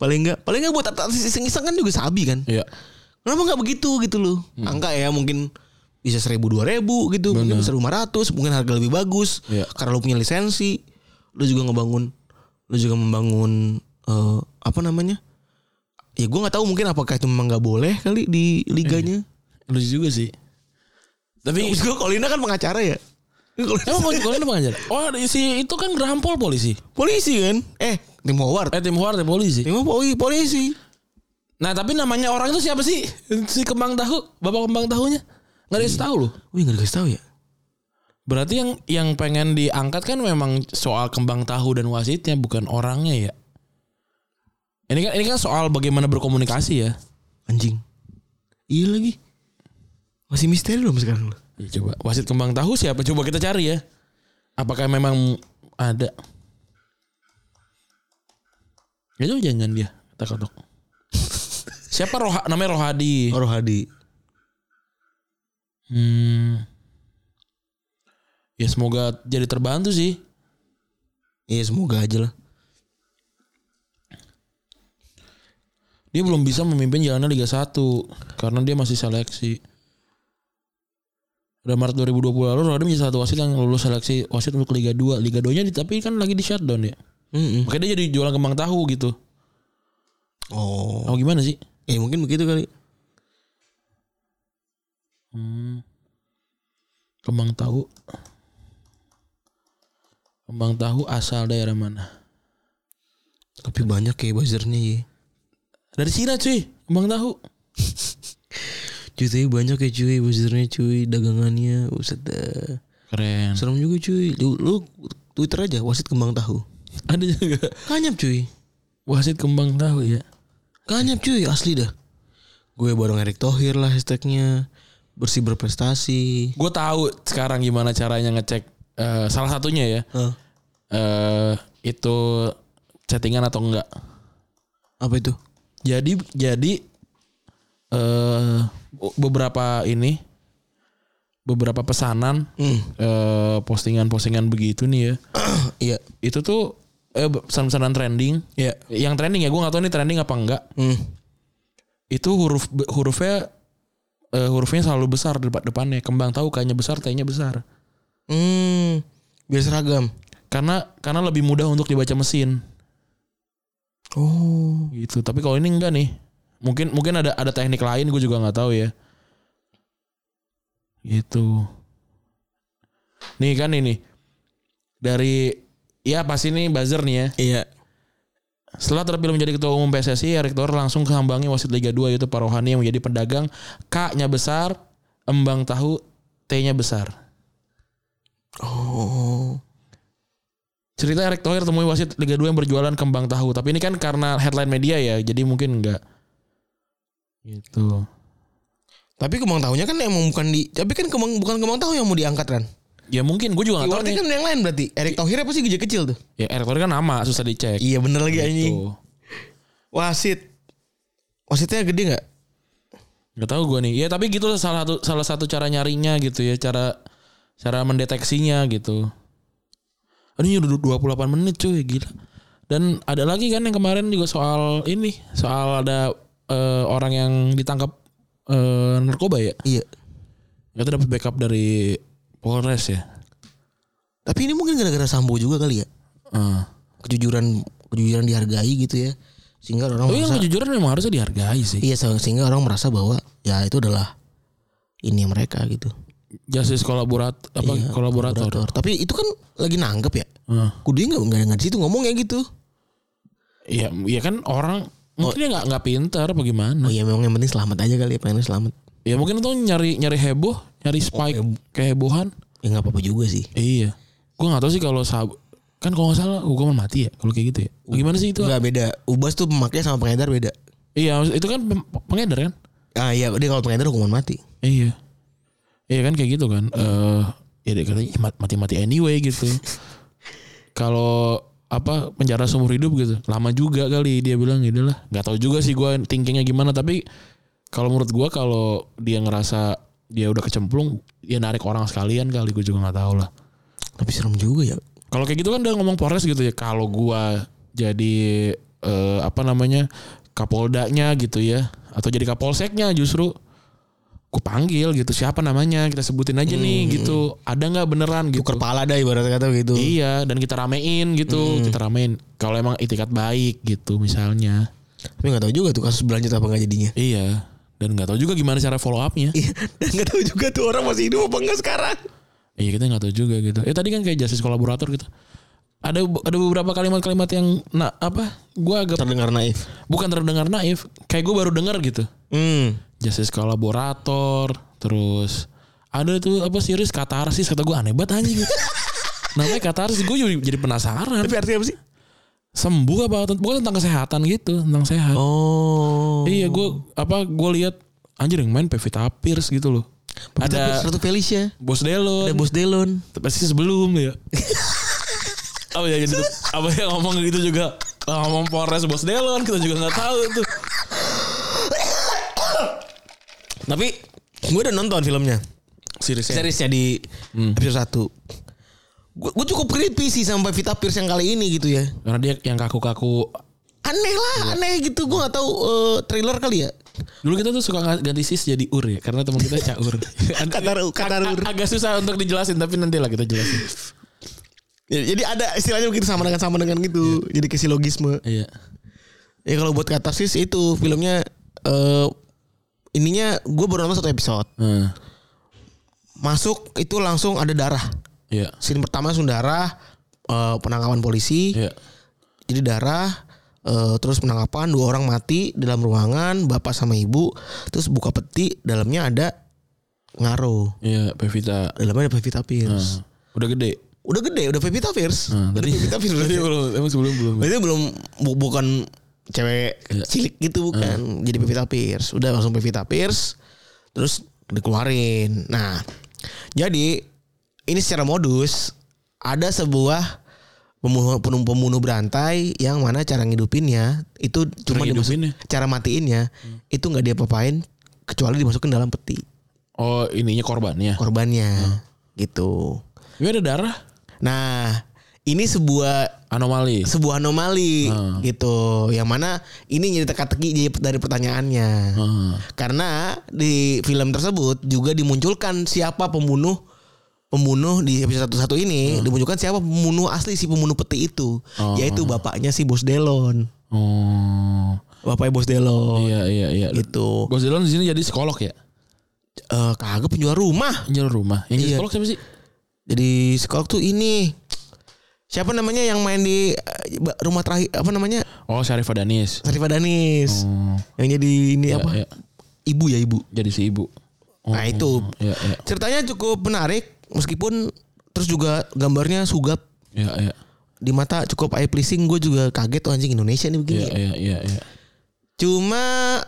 [SPEAKER 3] paling enggak paling enggak buat atas iseng-iseng kan juga sabi kan
[SPEAKER 2] Iya.
[SPEAKER 3] kenapa nggak begitu gitu loh angka ya mungkin bisa seribu dua ribu gitu mungkin bisa lima ratus mungkin harga lebih bagus
[SPEAKER 2] Iya.
[SPEAKER 3] karena lu punya lisensi lu juga ngebangun lu juga membangun eh, apa namanya ya gua nggak tahu mungkin apakah itu memang nggak boleh kali di liganya
[SPEAKER 2] Hmm. Lucu juga sih. Tapi
[SPEAKER 3] Terus gua Kolina kan pengacara ya
[SPEAKER 2] emang kalau kalau lu pengajar? Oh, si itu kan Graham Paul polisi.
[SPEAKER 3] polisi kan eh tim Howard
[SPEAKER 2] Eh tim Howard ya, polisi.
[SPEAKER 3] tim Howard polisi
[SPEAKER 2] Nah, tapi namanya orang itu siapa sih? Si kembang tahu, bapak kembang tahunya. Nggak ada yang tahu loh.
[SPEAKER 3] Wih gak dikasih tau ya
[SPEAKER 2] Berarti yang yang pengen diangkat kan memang soal kembang tahu dan wasitnya bukan orangnya ya. Ini kan ini kan soal bagaimana berkomunikasi ya.
[SPEAKER 3] Anjing Iya lagi Masih misteri belum sekarang lo
[SPEAKER 2] Ya, coba wasit kembang tahu siapa? Coba kita cari ya. Apakah memang ada? Ya itu jangan dia tak ketok. siapa Roha, namanya Rohadi?
[SPEAKER 3] Rohadi
[SPEAKER 2] Hmm. Ya semoga jadi terbantu sih.
[SPEAKER 3] Iya semoga aja lah
[SPEAKER 2] Dia belum bisa memimpin jalannya Liga 1 karena dia masih seleksi. Pada Maret 2020 lalu Rohadi menjadi satu wasit yang lulus seleksi wasit untuk Liga 2. Liga 2-nya di- tapi kan lagi di shutdown ya.
[SPEAKER 3] Mm-mm.
[SPEAKER 2] Makanya dia jadi jualan kembang tahu gitu.
[SPEAKER 3] Oh
[SPEAKER 2] Oh gimana sih?
[SPEAKER 3] Ya mungkin begitu kali
[SPEAKER 2] Hmm. Kembang tahu. Kembang tahu asal daerah mana?
[SPEAKER 3] Tapi banyak kayak buzzernya ya
[SPEAKER 2] Dari Cina cuy, kembang tahu.
[SPEAKER 3] Cuy tapi banyak ya cuy Buzzernya cuy Dagangannya Buset dah.
[SPEAKER 2] Keren.
[SPEAKER 3] Serem juga cuy Lu, lu Twitter aja Wasit kembang tahu
[SPEAKER 2] Ada juga
[SPEAKER 3] Kanyap cuy
[SPEAKER 2] wasit kembang tahu ya.
[SPEAKER 3] Kanyap cuy Asli dah Gue bareng Erick Thohir lah hashtagnya Bersih berprestasi
[SPEAKER 2] Gue tahu sekarang gimana caranya ngecek eh, salah satunya ya.
[SPEAKER 3] Hah?
[SPEAKER 2] eh itu chattingan atau enggak.
[SPEAKER 3] Apa itu?
[SPEAKER 2] Jadi jadi eh beberapa ini beberapa pesanan
[SPEAKER 3] Hmm.
[SPEAKER 2] eh, postingan-postingan begitu nih ya.
[SPEAKER 3] Iya
[SPEAKER 2] Itu tuh eh pesan-pesanan trending.
[SPEAKER 3] Iya
[SPEAKER 2] Yang trending ya gue nggak tahu ini trending apa enggak.
[SPEAKER 3] Hmm.
[SPEAKER 2] Itu huruf hurufnya eh, hurufnya selalu besar di depan depannya. Kembang tahu kayaknya besar, T-nya besar.
[SPEAKER 3] Hmm, biar seragam.
[SPEAKER 2] Karena karena lebih mudah untuk dibaca mesin.
[SPEAKER 3] Oh.
[SPEAKER 2] gitu tapi kalau ini enggak nih mungkin mungkin ada ada teknik lain gue juga nggak tahu ya gitu nih kan ini dari ya pasti ini buzzer nih ya
[SPEAKER 3] Iya.
[SPEAKER 2] setelah terpilih menjadi ketua umum PSSI Erick Thohir langsung kehambangi wasit Liga 2 yaitu Pak Rohani yang menjadi pedagang K-nya besar embang tahu T-nya besar
[SPEAKER 3] Oh.
[SPEAKER 2] Cerita Erick Thohir temui wasit Liga 2 yang berjualan kembang tahu. Tapi ini kan karena headline media ya, jadi mungkin enggak. Gitu.
[SPEAKER 3] Tapi kembang tahunya kan emang bukan di tapi kan kembang bukan kembang tahu yang mau diangkat kan.
[SPEAKER 2] Ya mungkin gue juga gak tahu
[SPEAKER 3] Berarti
[SPEAKER 2] nih.
[SPEAKER 3] kan yang lain berarti. Erick Thohir apa sih gede kecil tuh?
[SPEAKER 2] Ya Erick Thohir kan nama susah dicek.
[SPEAKER 3] Iya bener lagi anjing.
[SPEAKER 2] Gitu.
[SPEAKER 3] Wasit. Wasitnya gede nggak?
[SPEAKER 2] Gak tahu gue nih. Ya tapi gitu salah satu salah satu cara nyarinya gitu ya, cara cara mendeteksinya gitu. Aduh ini udah 28 menit cuy, gila. Dan ada lagi kan yang kemarin juga soal ini, soal ada eh, orang yang ditangkap eh, narkoba ya.
[SPEAKER 3] Iya.
[SPEAKER 2] Kita dapat backup dari Polres ya.
[SPEAKER 3] Tapi ini mungkin gara-gara Sambo juga kali ya.
[SPEAKER 2] Ah.
[SPEAKER 3] Kejujuran kejujuran dihargai gitu ya. sehingga orang
[SPEAKER 2] Oh iya
[SPEAKER 3] merasa
[SPEAKER 2] kejujuran memang harusnya dihargai sih.
[SPEAKER 3] iya se- sehingga orang merasa bahwa ya itu adalah ini mereka gitu
[SPEAKER 2] Justice kolaborat apa
[SPEAKER 3] Iya,
[SPEAKER 2] kolaborator.
[SPEAKER 3] kolaborator. tapi itu kan lagi nangkep ya
[SPEAKER 2] Heeh.
[SPEAKER 3] kudunya nggak nggak nggak di situ ngomongnya gitu
[SPEAKER 2] Iya, iya kan orang mungkin dia nggak nggak pintar apa gimana?
[SPEAKER 3] oh iya memang yang penting selamat aja kali ya pengennya selamat
[SPEAKER 2] Ya mungkin itu nyari nyari heboh, nyari spike kehebohan.
[SPEAKER 3] ya nggak apa-apa juga sih
[SPEAKER 2] Iya. Gua nggak tahu sih kalau sab kan kalau nggak salah hukuman mati ya kalau kayak gitu ya. Gimana sih itu?
[SPEAKER 3] nggak beda ubas tuh pemakainya sama pengedar beda
[SPEAKER 2] Iya, maksud- itu kan pem- pengedar kan?
[SPEAKER 3] ah iya dia kalau pengedar hukuman mati
[SPEAKER 2] Iya. Iya kan kayak gitu kan. Eh ya dia katanya "Ih, mat- mati-mati anyway gitu. Kalau apa penjara seumur hidup gitu. Lama juga kali dia bilang ya udahlah. Gak tahu juga sih gua thinkingnya gimana tapi kalau menurut gua kalau dia ngerasa dia udah kecemplung dia narik orang sekalian kali gue juga nggak tahu lah.
[SPEAKER 3] tapi serem juga ya
[SPEAKER 2] Kalau kayak gitu kan udah ngomong Polres gitu ya. Kalau gua jadi eh, apa namanya Kapoldanya gitu ya, atau jadi Kapolseknya justru ku panggil gitu siapa namanya kita sebutin aja nih gitu. Ada nggak beneran gitu?
[SPEAKER 3] tuker pala dah ibarat kata gitu
[SPEAKER 2] Iya, dan kita ramein gitu, kita ramein. Kalau emang itikat baik gitu misalnya.
[SPEAKER 3] tapi nggak tahu juga tuh kasus berlanjut apa nggak jadinya
[SPEAKER 2] Iya. Dan nggak tahu juga gimana cara follow upnya.
[SPEAKER 3] Iya, dan nggak tahu juga tuh orang masih hidup apa enggak sekarang.
[SPEAKER 2] Iya kita nggak tahu juga gitu. Eh tadi kan kayak justice kolaborator gitu. Ada ada beberapa kalimat-kalimat yang nah apa? Gua agak
[SPEAKER 3] Terdengar naif.
[SPEAKER 2] bukan terdengar naif kayak gue baru dengar gitu
[SPEAKER 3] Hmm.
[SPEAKER 2] justice kolaborator terus ada tuh apa series katarsis kata gue aneh banget anjing namanya katarsis gue jadi, jadi penasaran
[SPEAKER 3] Tapi artinya apa sih?
[SPEAKER 2] sembuh apa tent- bukan tentang kesehatan gitu tentang sehat
[SPEAKER 3] Oh.
[SPEAKER 2] iya gue apa gue lihat anjir yang main Pevita Pierce gitu loh
[SPEAKER 3] Ada
[SPEAKER 2] ada
[SPEAKER 3] satu Felicia,
[SPEAKER 2] bos Delon
[SPEAKER 3] ada Bos Delon.
[SPEAKER 2] pasti sebelum ya apa ya gitu apa yang ngomong gitu juga ngomong Polres Bos Delon kita juga nggak tahu tuh
[SPEAKER 3] Tapi gue udah nonton filmnya.
[SPEAKER 2] seriesnya Hmm.
[SPEAKER 3] Seriesnya di episode 1. Gue, gue cukup creepy sih sampai Vita Pierce yang kali ini gitu ya.
[SPEAKER 2] karena dia yang kaku-kaku
[SPEAKER 3] Aneh
[SPEAKER 2] Iya.
[SPEAKER 3] lah, aneh gitu. Gue gak tahu eh, trailer kali ya.
[SPEAKER 2] Dulu kita tuh suka nggak- ganti sis jadi ur ya, karena teman kita caur.
[SPEAKER 3] Kataru, kataru.
[SPEAKER 2] Ag- Agak susah untuk dijelasin, tapi nanti lah kita jelasin.
[SPEAKER 3] Ya, Jadi ada istilahnya begitu sama dengan sama dengan gitu. Jadi ke silogisme.
[SPEAKER 2] Iya.
[SPEAKER 3] Ya kalau buat katarsis itu filmnya eh ininya gue baru nonton satu episode.
[SPEAKER 2] Heeh.
[SPEAKER 3] Masuk itu langsung ada darah.
[SPEAKER 2] Iya.
[SPEAKER 3] Scene pertama langsung darah eh, penangkapan polisi.
[SPEAKER 2] Iya.
[SPEAKER 3] Jadi darah eh, terus penangkapan dua orang mati dalam ruangan bapak sama ibu terus buka peti dalamnya ada ngaro
[SPEAKER 2] Iya, Pevita.
[SPEAKER 3] dalamnya ada Pevita Pierce
[SPEAKER 2] Nah, Udah gede.
[SPEAKER 3] udah gede udah Pevita Pierce
[SPEAKER 2] Nah, tadi
[SPEAKER 3] Udah Pevita Pierce
[SPEAKER 2] tadi
[SPEAKER 3] udah-
[SPEAKER 2] belum emang sebelum belum.
[SPEAKER 3] Berarti belum bu- bukan cewek
[SPEAKER 2] Iya.
[SPEAKER 3] cilik gitu bukan. Jadi Pevita Pierce. Udah langsung Pevita Pierce terus dikeluarin. Nah, jadi ini secara modus ada sebuah pembunuh pembunuh, pembunuh berantai yang mana cara ngidupinnya itu cuma dimasuk-
[SPEAKER 2] ngidupinnya? Hmm.
[SPEAKER 3] cara matiinnya itu nggak dia papain kecuali dimasukin dalam peti
[SPEAKER 2] Oh, ininya korbannya.
[SPEAKER 3] korbannya
[SPEAKER 2] Hmm.
[SPEAKER 3] gitu.
[SPEAKER 2] Ini ada darah
[SPEAKER 3] Nah, ini sebuah
[SPEAKER 2] anomali.
[SPEAKER 3] sebuah anomali
[SPEAKER 2] Hmm.
[SPEAKER 3] gitu yang mana ini jadi teka-teki jadi dari pertanyaannya
[SPEAKER 2] Heeh.
[SPEAKER 3] karena di film tersebut juga dimunculkan siapa pembunuh pembunuh di episode satu ini
[SPEAKER 2] Hmm.
[SPEAKER 3] dimunculkan siapa pembunuh asli si pembunuh peti itu yaitu
[SPEAKER 2] Hmm.
[SPEAKER 3] bapaknya si Bos Delon
[SPEAKER 2] Oh.
[SPEAKER 3] bapaknya Bos Delon
[SPEAKER 2] Iya, iya, iya.
[SPEAKER 3] gitu
[SPEAKER 2] Bos Delon di sini jadi psikolog ya?
[SPEAKER 3] Eh, kagak penjual rumah
[SPEAKER 2] Jual rumah. Yang jadi
[SPEAKER 3] Iya.
[SPEAKER 2] psikolog siapa sih?
[SPEAKER 3] jadi sekolah tuh ini siapa namanya yang main di eh, ba- rumah terakhir apa namanya
[SPEAKER 2] Oh, Syarif Adanis.
[SPEAKER 3] Sarif Danis
[SPEAKER 2] Oh.
[SPEAKER 3] yang jadi ini
[SPEAKER 2] Iya,
[SPEAKER 3] apa
[SPEAKER 2] iya.
[SPEAKER 3] ibu ya ibu
[SPEAKER 2] Jadi si ibu. Oh,
[SPEAKER 3] Nah, itu.
[SPEAKER 2] Iya, iya.
[SPEAKER 3] ceritanya cukup menarik meskipun terus juga gambarnya sugap
[SPEAKER 2] Iya, iya.
[SPEAKER 3] di mata cukup eye pleasing gue juga kaget tuh anjing Indonesia nih begini
[SPEAKER 2] Iya, iya, iya, iya.
[SPEAKER 3] cuma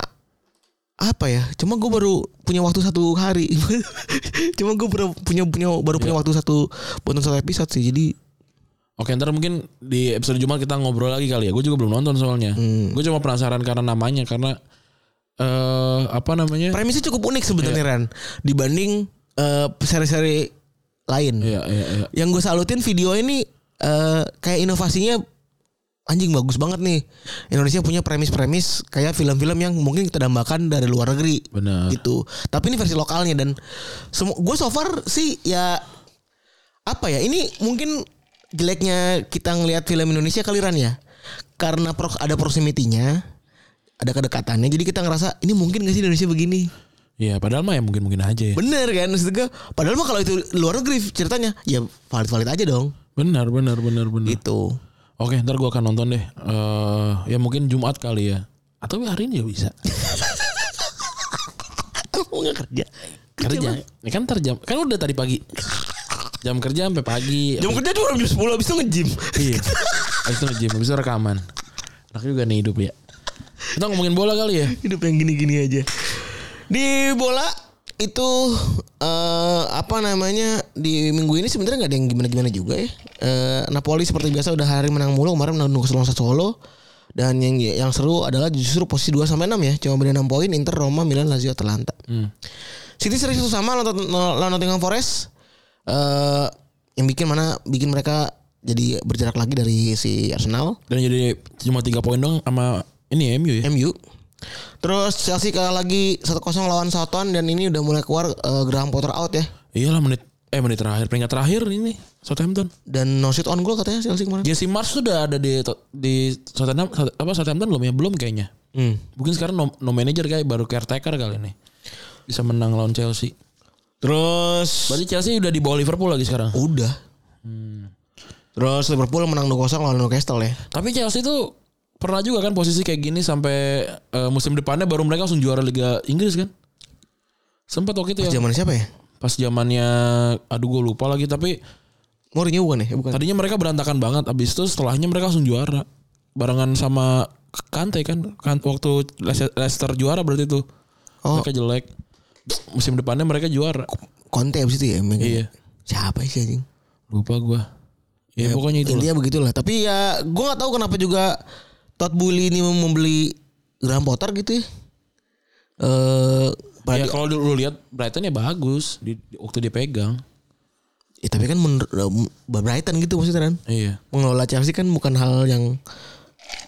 [SPEAKER 3] apa ya cuma gue baru punya waktu satu hari cuma gue baru punya punya baru
[SPEAKER 2] Iya.
[SPEAKER 3] punya waktu satu nonton satu episode sih jadi
[SPEAKER 2] Oke ntar mungkin di episode Jumat kita ngobrol lagi kali ya. Gue juga belum nonton soalnya. Gue cuma penasaran karena namanya karena eh apa namanya?
[SPEAKER 3] premisnya cukup unik sebenarnya
[SPEAKER 2] Iya.
[SPEAKER 3] Ran dibanding eh, seri-seri lain
[SPEAKER 2] Iya iya iya.
[SPEAKER 3] yang gue salutin video ini eh, kayak inovasinya anjing bagus banget nih Indonesia punya premis-premis kayak film-film yang mungkin kita dambakan dari luar negeri
[SPEAKER 2] Benar.
[SPEAKER 3] gitu tapi ini versi lokalnya dan semua gue so far sih ya apa ya ini mungkin jeleknya kita ngelihat film Indonesia kaliran ya karena pro- ada proximity-nya ada kedekatannya jadi kita ngerasa ini mungkin gak sih di Indonesia begini
[SPEAKER 2] Iya, padahal mah ya mungkin-mungkin aja ya.
[SPEAKER 3] bener kan maksud gue padahal mah kalau itu luar negeri ceritanya ya valid valid aja dong
[SPEAKER 2] Benar, benar, benar, benar.
[SPEAKER 3] gitu
[SPEAKER 2] Oke, ntar gua akan nonton deh. Eh, ya mungkin Jumat kali ya. Atau hari ini ya bisa.
[SPEAKER 3] aku nggak kerja
[SPEAKER 2] Kerja. Ya kan ntar jam. Kan udah tadi pagi. Jam kerja sampai pagi.
[SPEAKER 3] jam kerja cuma jam sepuluh abis itu nge-gym
[SPEAKER 2] Iya. Habis itu nge-gym, habis itu rekaman. Enak juga nih hidup ya. Kita ngomongin bola kali ya.
[SPEAKER 3] hidup yang gini-gini aja di bola itu eh, apa namanya di minggu ini sebenarnya nggak ada yang gimana-gimana juga ya Eh, Napoli seperti biasa udah hari menang mulu kemarin menang nunggu Solo Solo dan yang yang seru adalah justru posisi 2 sampai 6 ya cuma beda 6 poin Inter Roma Milan Lazio Atalanta City seri satu sama lawan lawan Nottingham Forest eh yang bikin mana bikin mereka jadi berjarak lagi dari si Arsenal
[SPEAKER 2] Dan jadi cuma 3 poin dong sama ini ya, MU ya.
[SPEAKER 3] MU. Terus Chelsea kalah lagi 1-0 lawan Southampton dan ini udah mulai keluar eh, Graham Potter out ya.
[SPEAKER 2] Iyalah menit eh menit terakhir peringkat terakhir ini Southampton.
[SPEAKER 3] Dan no shot on goal katanya Chelsea kemarin.
[SPEAKER 2] Jesse Mars tuh udah ada di di Southampton apa Southampton belum ya? Belum kayaknya.
[SPEAKER 3] Hmm.
[SPEAKER 2] Mungkin sekarang no, no manager kayak baru caretaker kali ini. Bisa menang lawan Chelsea.
[SPEAKER 3] Terus
[SPEAKER 2] Berarti Chelsea udah di bawah Liverpool lagi sekarang.
[SPEAKER 3] udah.
[SPEAKER 2] Hmm.
[SPEAKER 3] Terus Liverpool menang 2-0 lawan Newcastle ya.
[SPEAKER 2] Tapi Chelsea tuh pernah juga kan posisi kayak gini sampai eh, musim depannya baru mereka langsung juara Liga Inggris kan? Sempat waktu itu ya.
[SPEAKER 3] Zaman siapa ya?
[SPEAKER 2] Pas zamannya aduh gue lupa lagi tapi
[SPEAKER 3] Mourinho bukan ya? Eh, Bukan.
[SPEAKER 2] tadinya mereka berantakan banget abis itu setelahnya mereka langsung juara. Barengan sama Kante kan, kan waktu Leices- Leicester juara berarti tuh.
[SPEAKER 3] Oh.
[SPEAKER 2] Mereka jelek. Musim depannya mereka juara.
[SPEAKER 3] Conte abis itu ya. emang.
[SPEAKER 2] Iya.
[SPEAKER 3] Siapa sih anjing?
[SPEAKER 2] Lupa gua. Ya, pokoknya itu
[SPEAKER 3] Intinya begitulah. Tapi ya gue nggak tahu kenapa juga Todd Bully ini membeli Graham Potter gitu ya. Eh,
[SPEAKER 2] Ya
[SPEAKER 3] pada-
[SPEAKER 2] kalau lu lu lihat Brighton ya bagus di, di- waktu dia pegang.
[SPEAKER 3] ya, tapi kan menurut Brighton gitu maksudnya kan.
[SPEAKER 2] Iya.
[SPEAKER 3] mengelola Chelsea kan bukan hal yang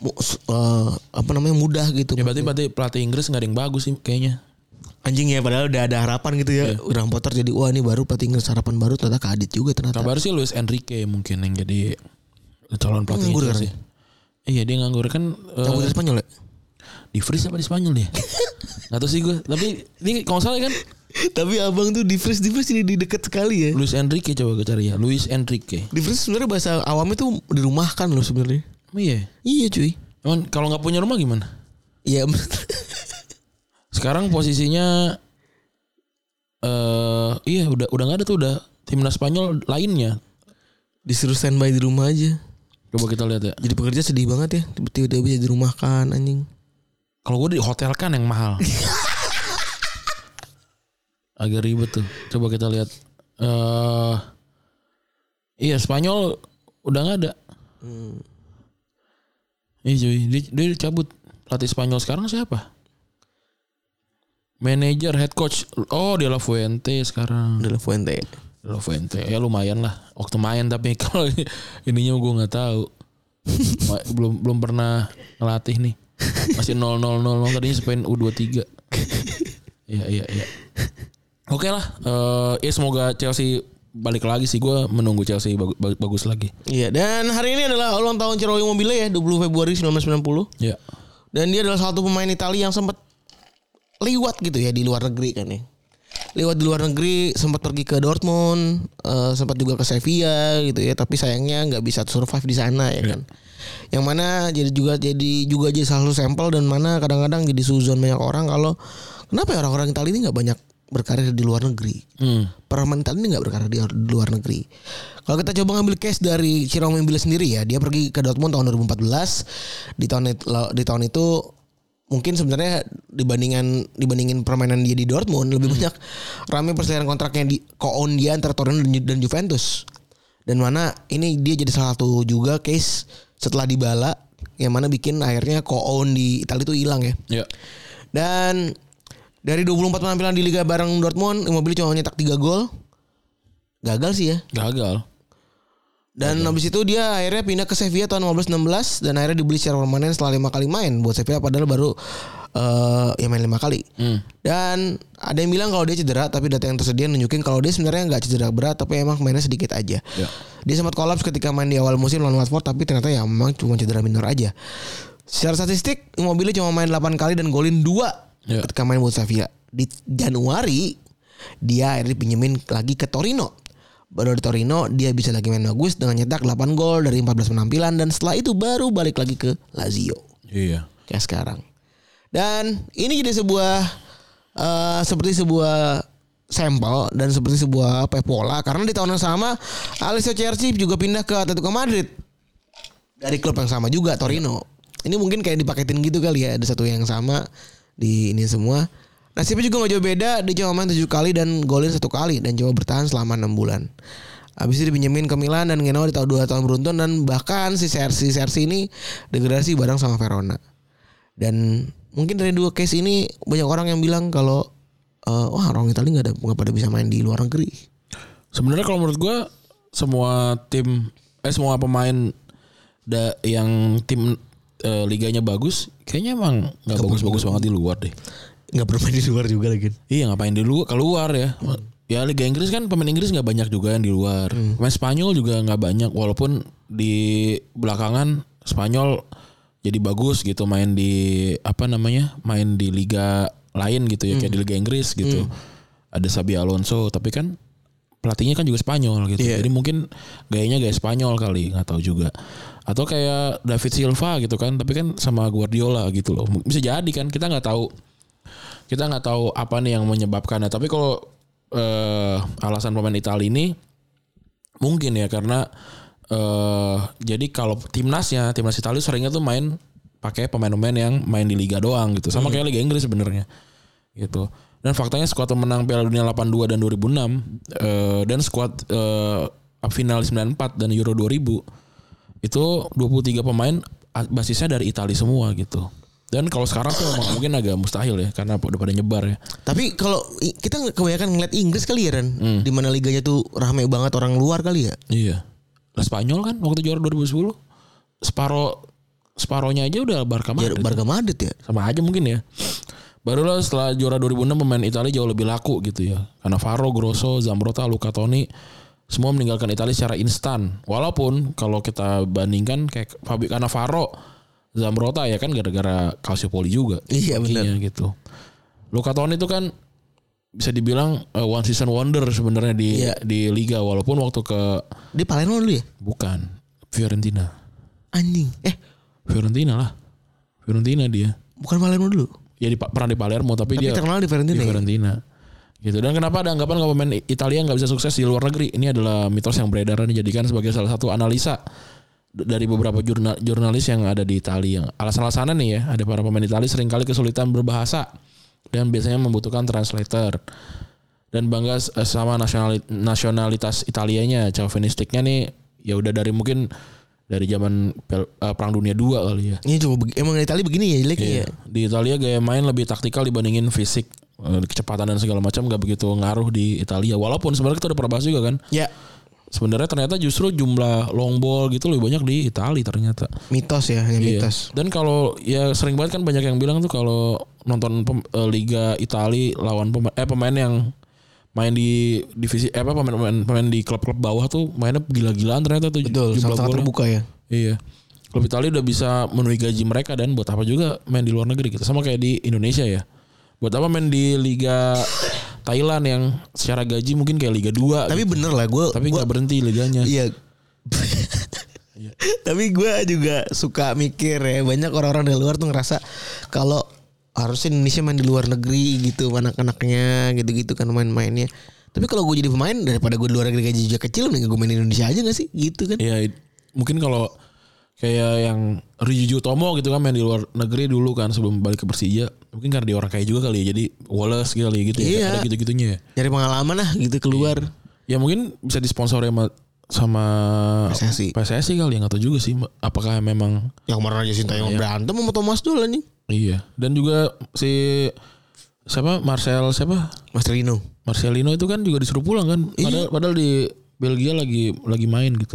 [SPEAKER 3] mu- s- eh, apa namanya mudah gitu.
[SPEAKER 2] Ya berarti berarti pelatih Inggris nggak ada yang bagus sih kayaknya.
[SPEAKER 3] Anjing ya padahal udah ada harapan gitu ya. Graham Potter jadi wah ini baru pelatih Inggris harapan baru ternyata kadit juga ternyata.
[SPEAKER 2] Kabar sih Luis Enrique mungkin yang jadi calon pelatih
[SPEAKER 3] Nganggur
[SPEAKER 2] Inggris.
[SPEAKER 3] kan?
[SPEAKER 2] Iya dia nganggur kan eh,
[SPEAKER 3] Cabut dari Spanyol ya.
[SPEAKER 2] di freeze apa di Spanyol dia? Gak tau sih gue. Tapi ini kalau nggak salah kan
[SPEAKER 3] Tapi abang tuh di freeze di freeze ini di dekat sekali ya.
[SPEAKER 2] Luis Enrique coba gue cari ya. Luis Enrique.
[SPEAKER 3] Di freeze sebenarnya bahasa awamnya tuh dirumahkan loh sebenarnya.
[SPEAKER 2] Emang Iya.
[SPEAKER 3] Iya cuy.
[SPEAKER 2] Emang kalau nggak punya rumah gimana?
[SPEAKER 3] Iya.
[SPEAKER 2] Sekarang posisinya eh iya udah udah nggak ada tuh udah timnas Spanyol lainnya.
[SPEAKER 3] Disuruh standby di rumah aja.
[SPEAKER 2] Coba kita lihat ya.
[SPEAKER 3] Jadi pekerja sedih banget ya. Tiba-tiba dia bisa dirumahkan anjing.
[SPEAKER 2] Kalau gue di hotel kan yang mahal. Agak ribet tuh. Coba kita lihat. eh iya Spanyol udah nggak ada. Iya cuy, dia, dia cabut. Pelatih Spanyol sekarang siapa? Manager, head coach. Oh, dia La Fuente sekarang.
[SPEAKER 3] Udah lah Fuente.
[SPEAKER 2] De La Fuente. Ya lumayan lah. Waktu main tapi kalau ininya gue nggak tahu. Ma- belum belum pernah ngelatih nih. Masih 0 0 0 0 tadinya Spain U23. Iya iya iya. Oke lah. Eh ya semoga Chelsea balik lagi sih gue menunggu Chelsea bagu- bagus, lagi.
[SPEAKER 3] Iya dan hari ini adalah ulang tahun Ceroli Mobile ya 20 Februari 1990.
[SPEAKER 2] Ya.
[SPEAKER 3] Dan dia adalah satu pemain Italia yang sempat liwat gitu ya di luar negeri kan ya. Liwat di luar negeri sempat pergi ke Dortmund, eh, sempat juga ke Sevilla gitu ya, tapi sayangnya nggak bisa survive di sana ya kan. Yang mana jadi juga jadi juga jadi salah satu sampel dan mana kadang-kadang jadi suzon banyak orang kalau kenapa ya orang-orang Italia ini nggak banyak berkarir di luar negeri
[SPEAKER 2] Hmm.
[SPEAKER 3] permentan ini nggak berkarir di di luar negeri. Kalau kita coba ngambil case dari Cirong Mimbil sendiri ya, dia pergi ke Dortmund tahun 2014. Di tahun itu, di tahun itu mungkin sebenarnya dibandingkan dibandingin permainan dia di Dortmund lebih banyak rame perselisihan kontraknya di koon dia antara Torino dan, Ju- dan Juventus. Dan mana ini dia jadi salah satu juga case setelah dibala yang mana bikin akhirnya koon di Italia itu hilang ya.
[SPEAKER 2] Ya.
[SPEAKER 3] Dan dari 24 penampilan di Liga bareng Dortmund, Immobile cuma nyetak 3 gol. Gagal sih ya.
[SPEAKER 2] Gagal.
[SPEAKER 3] Dan habis itu dia akhirnya pindah ke Sevilla tahun 15-16 dan akhirnya dibeli secara permanen setelah 5 kali main buat Sevilla padahal baru eh ya main 5 kali.
[SPEAKER 2] Hmm.
[SPEAKER 3] Dan ada yang bilang kalau dia cedera tapi data yang tersedia nunjukin kalau dia sebenarnya nggak cedera berat tapi emang mainnya sedikit aja.
[SPEAKER 2] Ya.
[SPEAKER 3] Dia sempat kolaps ketika main di awal musim lawan Watford tapi ternyata ya memang cuma cedera minor aja. Secara statistik Immobile cuma main 8 kali dan golin 2
[SPEAKER 2] Iya.
[SPEAKER 3] ketika main buat Sevilla. Di Januari dia akhirnya dipinjemin lagi ke Torino. Baru di Torino dia bisa lagi main bagus dengan nyetak 8 gol dari 14 penampilan dan setelah itu baru balik lagi ke Lazio
[SPEAKER 2] Iya.
[SPEAKER 3] kayak sekarang. Dan ini jadi sebuah eh, seperti sebuah sampel dan seperti sebuah apa ya, pola karena di tahun yang sama Alessio Cerci juga pindah ke Atletico Madrid dari klub yang sama juga Torino. Ini mungkin kayak dipaketin gitu kali ya ada satu yang sama di ini semua. Nasibnya juga gak jauh beda, dia cuma main 7 kali dan golin satu kali dan coba bertahan selama 6 bulan. Habis itu dipinjemin ke Milan dan Genoa di tahun 2 tahun beruntun dan bahkan si Sersi Sersi ini degradasi bareng sama Verona. Dan mungkin dari dua case ini banyak orang yang bilang kalau eh, wah orang Italia nggak ada nggak pada bisa main di luar negeri.
[SPEAKER 2] Sebenarnya kalau menurut gua semua tim eh semua pemain da, yang tim eh, liganya bagus kayaknya emang nggak bagus-bagus banget di luar deh.
[SPEAKER 3] Nggak bermain di luar juga lagi.
[SPEAKER 2] Iya ngapain di luar keluar ya. Ya Liga Inggris kan pemain Inggris nggak banyak juga yang di luar. Pemain Spanyol juga nggak banyak walaupun di belakangan Spanyol jadi bagus gitu main di apa namanya? main di liga lain gitu ya kayak di Liga Inggris gitu. Ada Sabi Alonso tapi kan pelatihnya kan juga Spanyol gitu.
[SPEAKER 3] Iya.
[SPEAKER 2] Jadi mungkin gayanya gaya Spanyol kali, nggak tahu juga. Atau kayak David Silva gitu kan, tapi kan sama Guardiola gitu loh. Bisa jadi kan kita nggak tahu kita nggak tahu apa nih yang menyebabkannya. Tapi kalau eh, alasan pemain Italia ini mungkin ya karena eh jadi kalau timnasnya timnas Italia seringnya tuh main pakai pemain-pemain yang main di liga doang gitu. Sama kayak Liga Inggris sebenarnya gitu. Dan faktanya skuad pemenang Piala Dunia 82 dan 2006 eh, dan skuad eh, final 94 dan Euro 2000 itu 23 pemain a- basisnya dari Italia semua gitu. Dan kalau sekarang tuh emang mungkin agak mustahil ya karena udah pada nyebar ya.
[SPEAKER 3] Tapi kalau i- kita nggak kebanyakan ngeliat Inggris kali ya Ren,
[SPEAKER 2] Hmm.
[SPEAKER 3] di mana liganya tuh rame banget orang luar kali ya.
[SPEAKER 2] Iya. Lah Spanyol kan waktu juara 2010 separo separohnya aja udah Barca
[SPEAKER 3] Ya,
[SPEAKER 2] Madrid.
[SPEAKER 3] Barca Madrid ya.
[SPEAKER 2] sama aja mungkin ya. Barulah setelah juara 2006 pemain Italia jauh lebih laku gitu ya. Karena Faro, Grosso, Zambrotta, Luca Toni semua meninggalkan Italia secara instan. Walaupun kalau kita bandingkan kayak Fabio Cannavaro, Zambrotta ya kan gara-gara Calciopoli juga.
[SPEAKER 3] Iya, benar.
[SPEAKER 2] Iya gitu. Luka Toni itu kan bisa dibilang eh, one season wonder sebenarnya di
[SPEAKER 3] Iya.
[SPEAKER 2] di liga walaupun waktu ke
[SPEAKER 3] Di Palermo dulu ya.
[SPEAKER 2] bukan Fiorentina.
[SPEAKER 3] Anjing. Eh,
[SPEAKER 2] Fiorentina lah. Fiorentina dia.
[SPEAKER 3] bukan Palermo dulu.
[SPEAKER 2] Ya di, pernah di Palermo tapi,
[SPEAKER 3] Tapi
[SPEAKER 2] dia
[SPEAKER 3] terkenal di
[SPEAKER 2] di
[SPEAKER 3] Fiorentina. ya?
[SPEAKER 2] Iya. Fiorentina. Gitu. Dan kenapa ada anggapan kalau pemain Italia nggak bisa sukses di luar negeri? Ini adalah mitos yang beredar dan dijadikan sebagai salah satu analisa d- dari beberapa jurnal, jurnalis yang ada di Italia. Yang Alasan-alasannya nih ya, ada para pemain Italia seringkali kesulitan berbahasa dan biasanya membutuhkan translator. Dan bangga s- eh, sama nasionali- nasionalitas Italianya, chauvinistiknya nih ya udah dari mungkin dari zaman Pel- eh, Perang Dunia 2 kali ya.
[SPEAKER 3] Ini Iya, cuma beg- emang Italia begini ya jeleknya
[SPEAKER 2] Iya.
[SPEAKER 3] ya.
[SPEAKER 2] Di Italia gaya main lebih taktikal dibandingin fisik. Eh, Kecepatan dan segala macam gak begitu ngaruh di Italia. Walaupun sebenarnya kita udah pernah bahas juga kan.
[SPEAKER 3] Ya,
[SPEAKER 2] Sebenarnya ternyata justru jumlah long ball gitu lebih banyak di Italia ternyata.
[SPEAKER 3] mitos ya, hanya
[SPEAKER 2] Iya.
[SPEAKER 3] mitos.
[SPEAKER 2] Dan kalau ya sering banget kan banyak yang bilang tuh kalau nonton pem- eh, Liga Italia lawan pemain eh pemain yang main di divisi eh, apa pemain pemain, pemain di klub-klub bawah tuh mainnya gila-gilaan ternyata tuh
[SPEAKER 3] Betul, sangat-sangat
[SPEAKER 2] golnya.
[SPEAKER 3] terbuka ya.
[SPEAKER 2] Iya. Klub Italia udah bisa menuhi gaji mereka dan buat apa juga main di luar negeri gitu. Sama kayak di Indonesia ya. Buat apa main di liga Thailand yang secara gaji mungkin kayak Liga 2
[SPEAKER 3] Tapi bener lah gue
[SPEAKER 2] tapi nggak berhenti liganya.
[SPEAKER 3] Iya. Tapi gue juga suka mikir ya banyak orang-orang dari luar tuh ngerasa kalau harusnya Indonesia main di luar negeri gitu anak-anaknya gitu-gitu kan main-mainnya. Tapi kalau gue jadi pemain daripada gue di luar negeri gaji juga kecil mending gue main di Indonesia aja gak sih gitu kan?
[SPEAKER 2] Iya, i- mungkin kalau kayak yang Ryuji Tomo gitu kan main di luar negeri dulu kan sebelum balik ke Persija. Mungkin karena dia orang kaya juga kali ya. Jadi Wallace gitu kali ya, gitu
[SPEAKER 3] Iya.
[SPEAKER 2] ya. Ada gitu-gitunya ya.
[SPEAKER 3] Nyari pengalaman lah gitu keluar.
[SPEAKER 2] Ya mungkin bisa disponsori sama sama
[SPEAKER 3] PSSI.
[SPEAKER 2] PSSI kali ya nggak tahu juga sih apakah memang
[SPEAKER 3] Yang kemarin aja Sintayong berantem sama Thomas dulu nih.
[SPEAKER 2] Iya. Dan juga si siapa Marcel siapa
[SPEAKER 3] Mas Rino.
[SPEAKER 2] Marcelino itu kan juga disuruh pulang kan. Padahal, padahal di Belgia lagi lagi main gitu.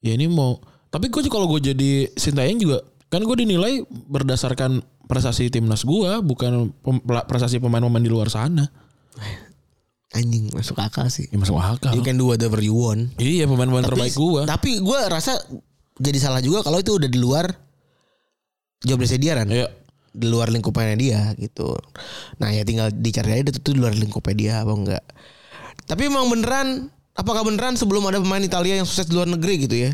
[SPEAKER 2] Ya ini mau. Tapi gue kalau gue jadi Sintayong juga kan gue dinilai berdasarkan prestasi timnas gue bukan pem- pela- prestasi pemain-pemain di luar sana.
[SPEAKER 3] Anjing masuk akal sih. kan
[SPEAKER 2] Ya masuk akal.
[SPEAKER 3] You can do whatever you want.
[SPEAKER 2] Iya pemain-pemain
[SPEAKER 3] Tapi-
[SPEAKER 2] terbaik gue.
[SPEAKER 3] Tapi gue rasa jadi salah juga kalau itu udah di luar joblessnya dia kan
[SPEAKER 2] Iya.
[SPEAKER 3] di luar lingkupannya dia gitu nah ya tinggal dicari aja itu di luar lingkupnya dia apa enggak tapi emang beneran apakah beneran sebelum ada pemain Italia yang sukses di luar negeri gitu ya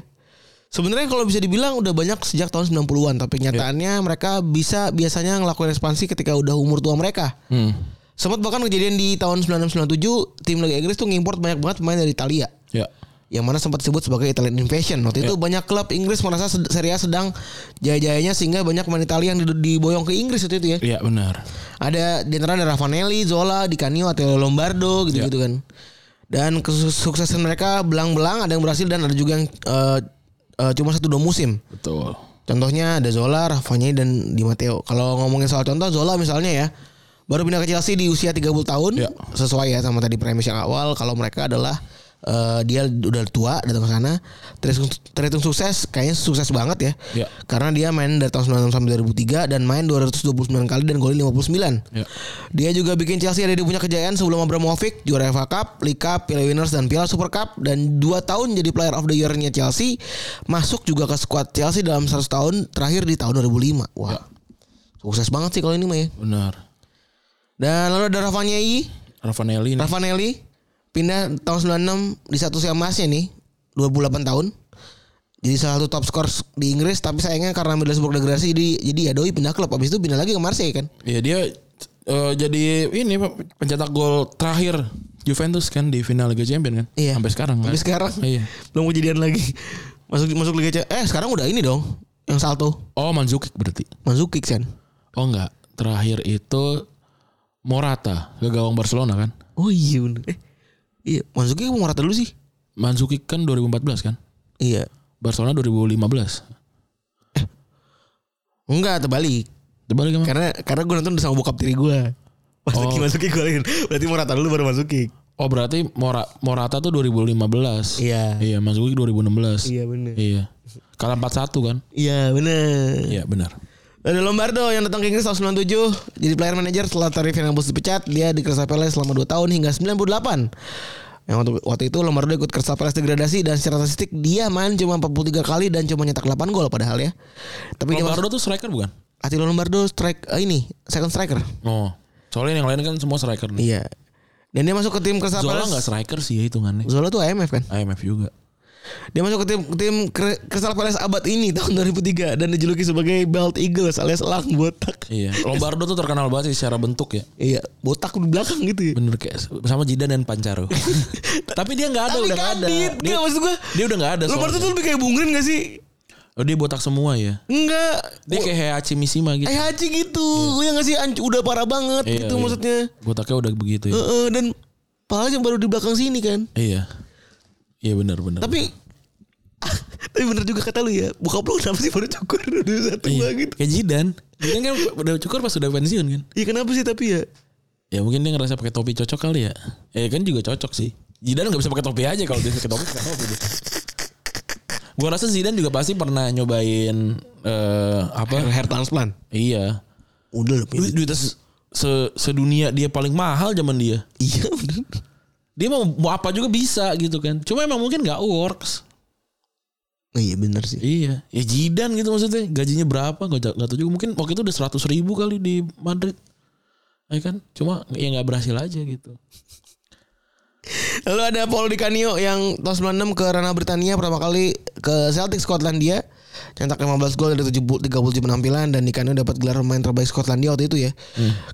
[SPEAKER 3] Sebenarnya kalau bisa dibilang udah banyak sejak tahun 90-an tapi nyataannya mereka bisa biasanya ngelakuin ekspansi ketika udah umur tua mereka.
[SPEAKER 2] Hmm.
[SPEAKER 3] Sempat bahkan kejadian di tahun 1997 tim Liga Inggris tuh ngimpor banyak banget pemain dari Italia
[SPEAKER 2] Ya.
[SPEAKER 3] yang mana sempat disebut sebagai Italian Invasion. Waktu itu banyak klub Inggris merasa sed- Serie A sedang jaya-jayanya sehingga banyak pemain Italia yang di- diboyong ke Inggris waktu itu ya.
[SPEAKER 2] Iya benar.
[SPEAKER 3] Ada di antara ada Ravanelli, Zola, Di Canio, Attilo Lombardo gitu-gitu kan. Dan kesuksesan mereka belang-belang ada yang berhasil dan ada juga yang eh, eh, cuma satu dua musim.
[SPEAKER 2] Betul.
[SPEAKER 3] Contohnya ada Zola, Ravanelli dan Di Matteo. Kalau ngomongin soal contoh Zola misalnya ya. Baru pindah ke Chelsea di usia 30 tahun.
[SPEAKER 2] Ya.
[SPEAKER 3] Sesuai ya sama tadi premis yang awal kalau mereka adalah eh, dia udah tua datang ke sana terhitung, terhitung sukses kayaknya sukses banget ya.
[SPEAKER 2] Ya.
[SPEAKER 3] Karena dia main dari tahun 99 sampai 2003 dan main 229 kali dan golin 59.
[SPEAKER 2] Ya.
[SPEAKER 3] Dia juga bikin Chelsea ada di punya kejayaan sebelum Abramovich juara FA Cup, League Cup, Piala Winners dan Piala Super Cup dan 2 tahun jadi player of the year-nya Chelsea, masuk juga ke skuad Chelsea dalam 100 tahun terakhir di tahun 2005. Wah. Sukses banget sih kalau ini mah ya.
[SPEAKER 2] Benar.
[SPEAKER 3] Dan lalu ada Ravanelli,
[SPEAKER 2] Ravanelli ini.
[SPEAKER 3] Ravanelli pindah tahun 96 di satu yang emasnya nih, 28 tahun. Jadi salah satu top skor di Inggris tapi sayangnya karena Middlesbrough degradasi jadi jadi ya Doi pindah klub habis itu pindah lagi ke Marseille kan.
[SPEAKER 2] Ya dia eh, jadi ini Pak, pencetak gol terakhir Juventus kan di final Liga Champions kan.
[SPEAKER 3] Iya.
[SPEAKER 2] Sampai sekarang. kan?
[SPEAKER 3] Tapi sekarang
[SPEAKER 2] Iya.
[SPEAKER 3] belum kejadian lagi. Masuk masuk Liga Champions. Eh, sekarang udah ini dong yang salto.
[SPEAKER 2] Oh Mandzukic berarti.
[SPEAKER 3] Masuk kick kan.
[SPEAKER 2] Oh enggak. Terakhir itu Morata ke gawang Barcelona kan.
[SPEAKER 3] Oh iya bener. Eh, iya, masuk kick mau rata dulu sih.
[SPEAKER 2] Mandzukic kan 2014 kan.
[SPEAKER 3] Iya.
[SPEAKER 2] Barcelona 2015.
[SPEAKER 3] Enggak, terbalik.
[SPEAKER 2] Terbalik emang.
[SPEAKER 3] Karena karena gue nonton sama bokap tiri gue. Pas
[SPEAKER 2] Oh.
[SPEAKER 3] lagi masuk kick golin. Berarti mau rata dulu baru masuk kick.
[SPEAKER 2] Oh berarti Mora- Morata tuh 2015.
[SPEAKER 3] Iya.
[SPEAKER 2] Iya, Mandzukic 2016.
[SPEAKER 3] Iya bener.
[SPEAKER 2] Iya. Kalah 4-1 kan?
[SPEAKER 3] Iya bener.
[SPEAKER 2] Iya, benar.
[SPEAKER 3] Ada Lombardo yang datang ke Inggris tahun 97 jadi player manager setelah Terry Venables dipecat dia di Crystal Palace selama 2 tahun hingga 98. Yang waktu, waktu itu Lombardo ikut Crystal Palace degradasi dan secara statistik dia main cuma 43 kali dan cuma nyetak 8 gol padahal ya. Tapi dia masuk
[SPEAKER 2] Lombardo tuh striker bukan?
[SPEAKER 3] Attilo Lombardo strike eh, ini second striker.
[SPEAKER 2] Oh. Soalnya yang lain kan semua striker nih.
[SPEAKER 3] Iya. Dan dia masuk ke tim Crystal
[SPEAKER 2] Zola
[SPEAKER 3] Palace.
[SPEAKER 2] nggak striker sih ya hitungannya.
[SPEAKER 3] Zola tuh IMF kan.
[SPEAKER 2] IMF juga.
[SPEAKER 3] Dia masuk ke tim tim Cre- Crystal Palace abad ini tahun 2003 dan dijuluki sebagai Belt Eagles alias elang botak.
[SPEAKER 2] Iya. Lombardo tuh terkenal banget sih secara bentuk ya.
[SPEAKER 3] Iya, botak di belakang gitu ya.
[SPEAKER 2] Bener kayak sama Jidan dan Pancaro. Tapi dia nggak ada
[SPEAKER 3] Tapi
[SPEAKER 2] udah nggak ada.
[SPEAKER 3] Kadit.
[SPEAKER 2] Dia,
[SPEAKER 3] Nggak, maksud gua,
[SPEAKER 2] dia udah nggak ada.
[SPEAKER 3] Lombardo
[SPEAKER 2] soalnya.
[SPEAKER 3] tuh lebih kayak bungrin gak sih?
[SPEAKER 2] Oh, dia botak semua ya.
[SPEAKER 3] Enggak.
[SPEAKER 2] Dia kayak Heihachi Mishima gitu.
[SPEAKER 3] Eh Haji gitu. Ya nggak sih Anc- udah parah banget
[SPEAKER 2] Iya,
[SPEAKER 3] gitu
[SPEAKER 2] iya.
[SPEAKER 3] maksudnya. Eh.
[SPEAKER 2] Botaknya udah begitu ya.
[SPEAKER 3] Heeh, dan palanya baru di belakang sini kan.
[SPEAKER 2] Iya. Iya benar benar.
[SPEAKER 3] Tapi tapi bener juga kata lu ya. Buka lu kenapa sih baru cukur udah satu
[SPEAKER 2] Iya.
[SPEAKER 3] gitu.
[SPEAKER 2] Kayak Jidan. Jidan kan udah cukur pas udah pensiun kan.
[SPEAKER 3] Iya kenapa sih tapi ya?
[SPEAKER 2] Ya mungkin dia ngerasa pakai topi cocok kali ya. Eh kan juga cocok sih. Zidane nggak bisa pakai topi aja kalau dia pakai topi pakai topi dia. Gua rasa Zidane juga pasti pernah nyobain eh apa?
[SPEAKER 3] Hair transplant.
[SPEAKER 2] Iya.
[SPEAKER 3] Udah lah.
[SPEAKER 2] Duit duitnya se, se- sedunia dia paling mahal zaman dia.
[SPEAKER 3] Iya bener.
[SPEAKER 2] Dia mau, mau apa juga bisa gitu kan. Cuma emang mungkin nggak works.
[SPEAKER 3] Oh, iya bener sih.
[SPEAKER 2] Iya. Ya Zidane gitu maksudnya. Gajinya berapa? Gak, nggak tahu juga. Mungkin waktu itu udah 100 ribu kali di Madrid. Ya kan? Cuma ya nggak berhasil aja gitu.
[SPEAKER 3] Lalu ada Paul Di Canio yang tahun 96 ke ranah Britania pertama kali ke Celtic Skotlandia. Cetak 15 gol dari 70 37 penampilan dan Di Canio dapat gelar pemain terbaik Skotlandia waktu itu ya.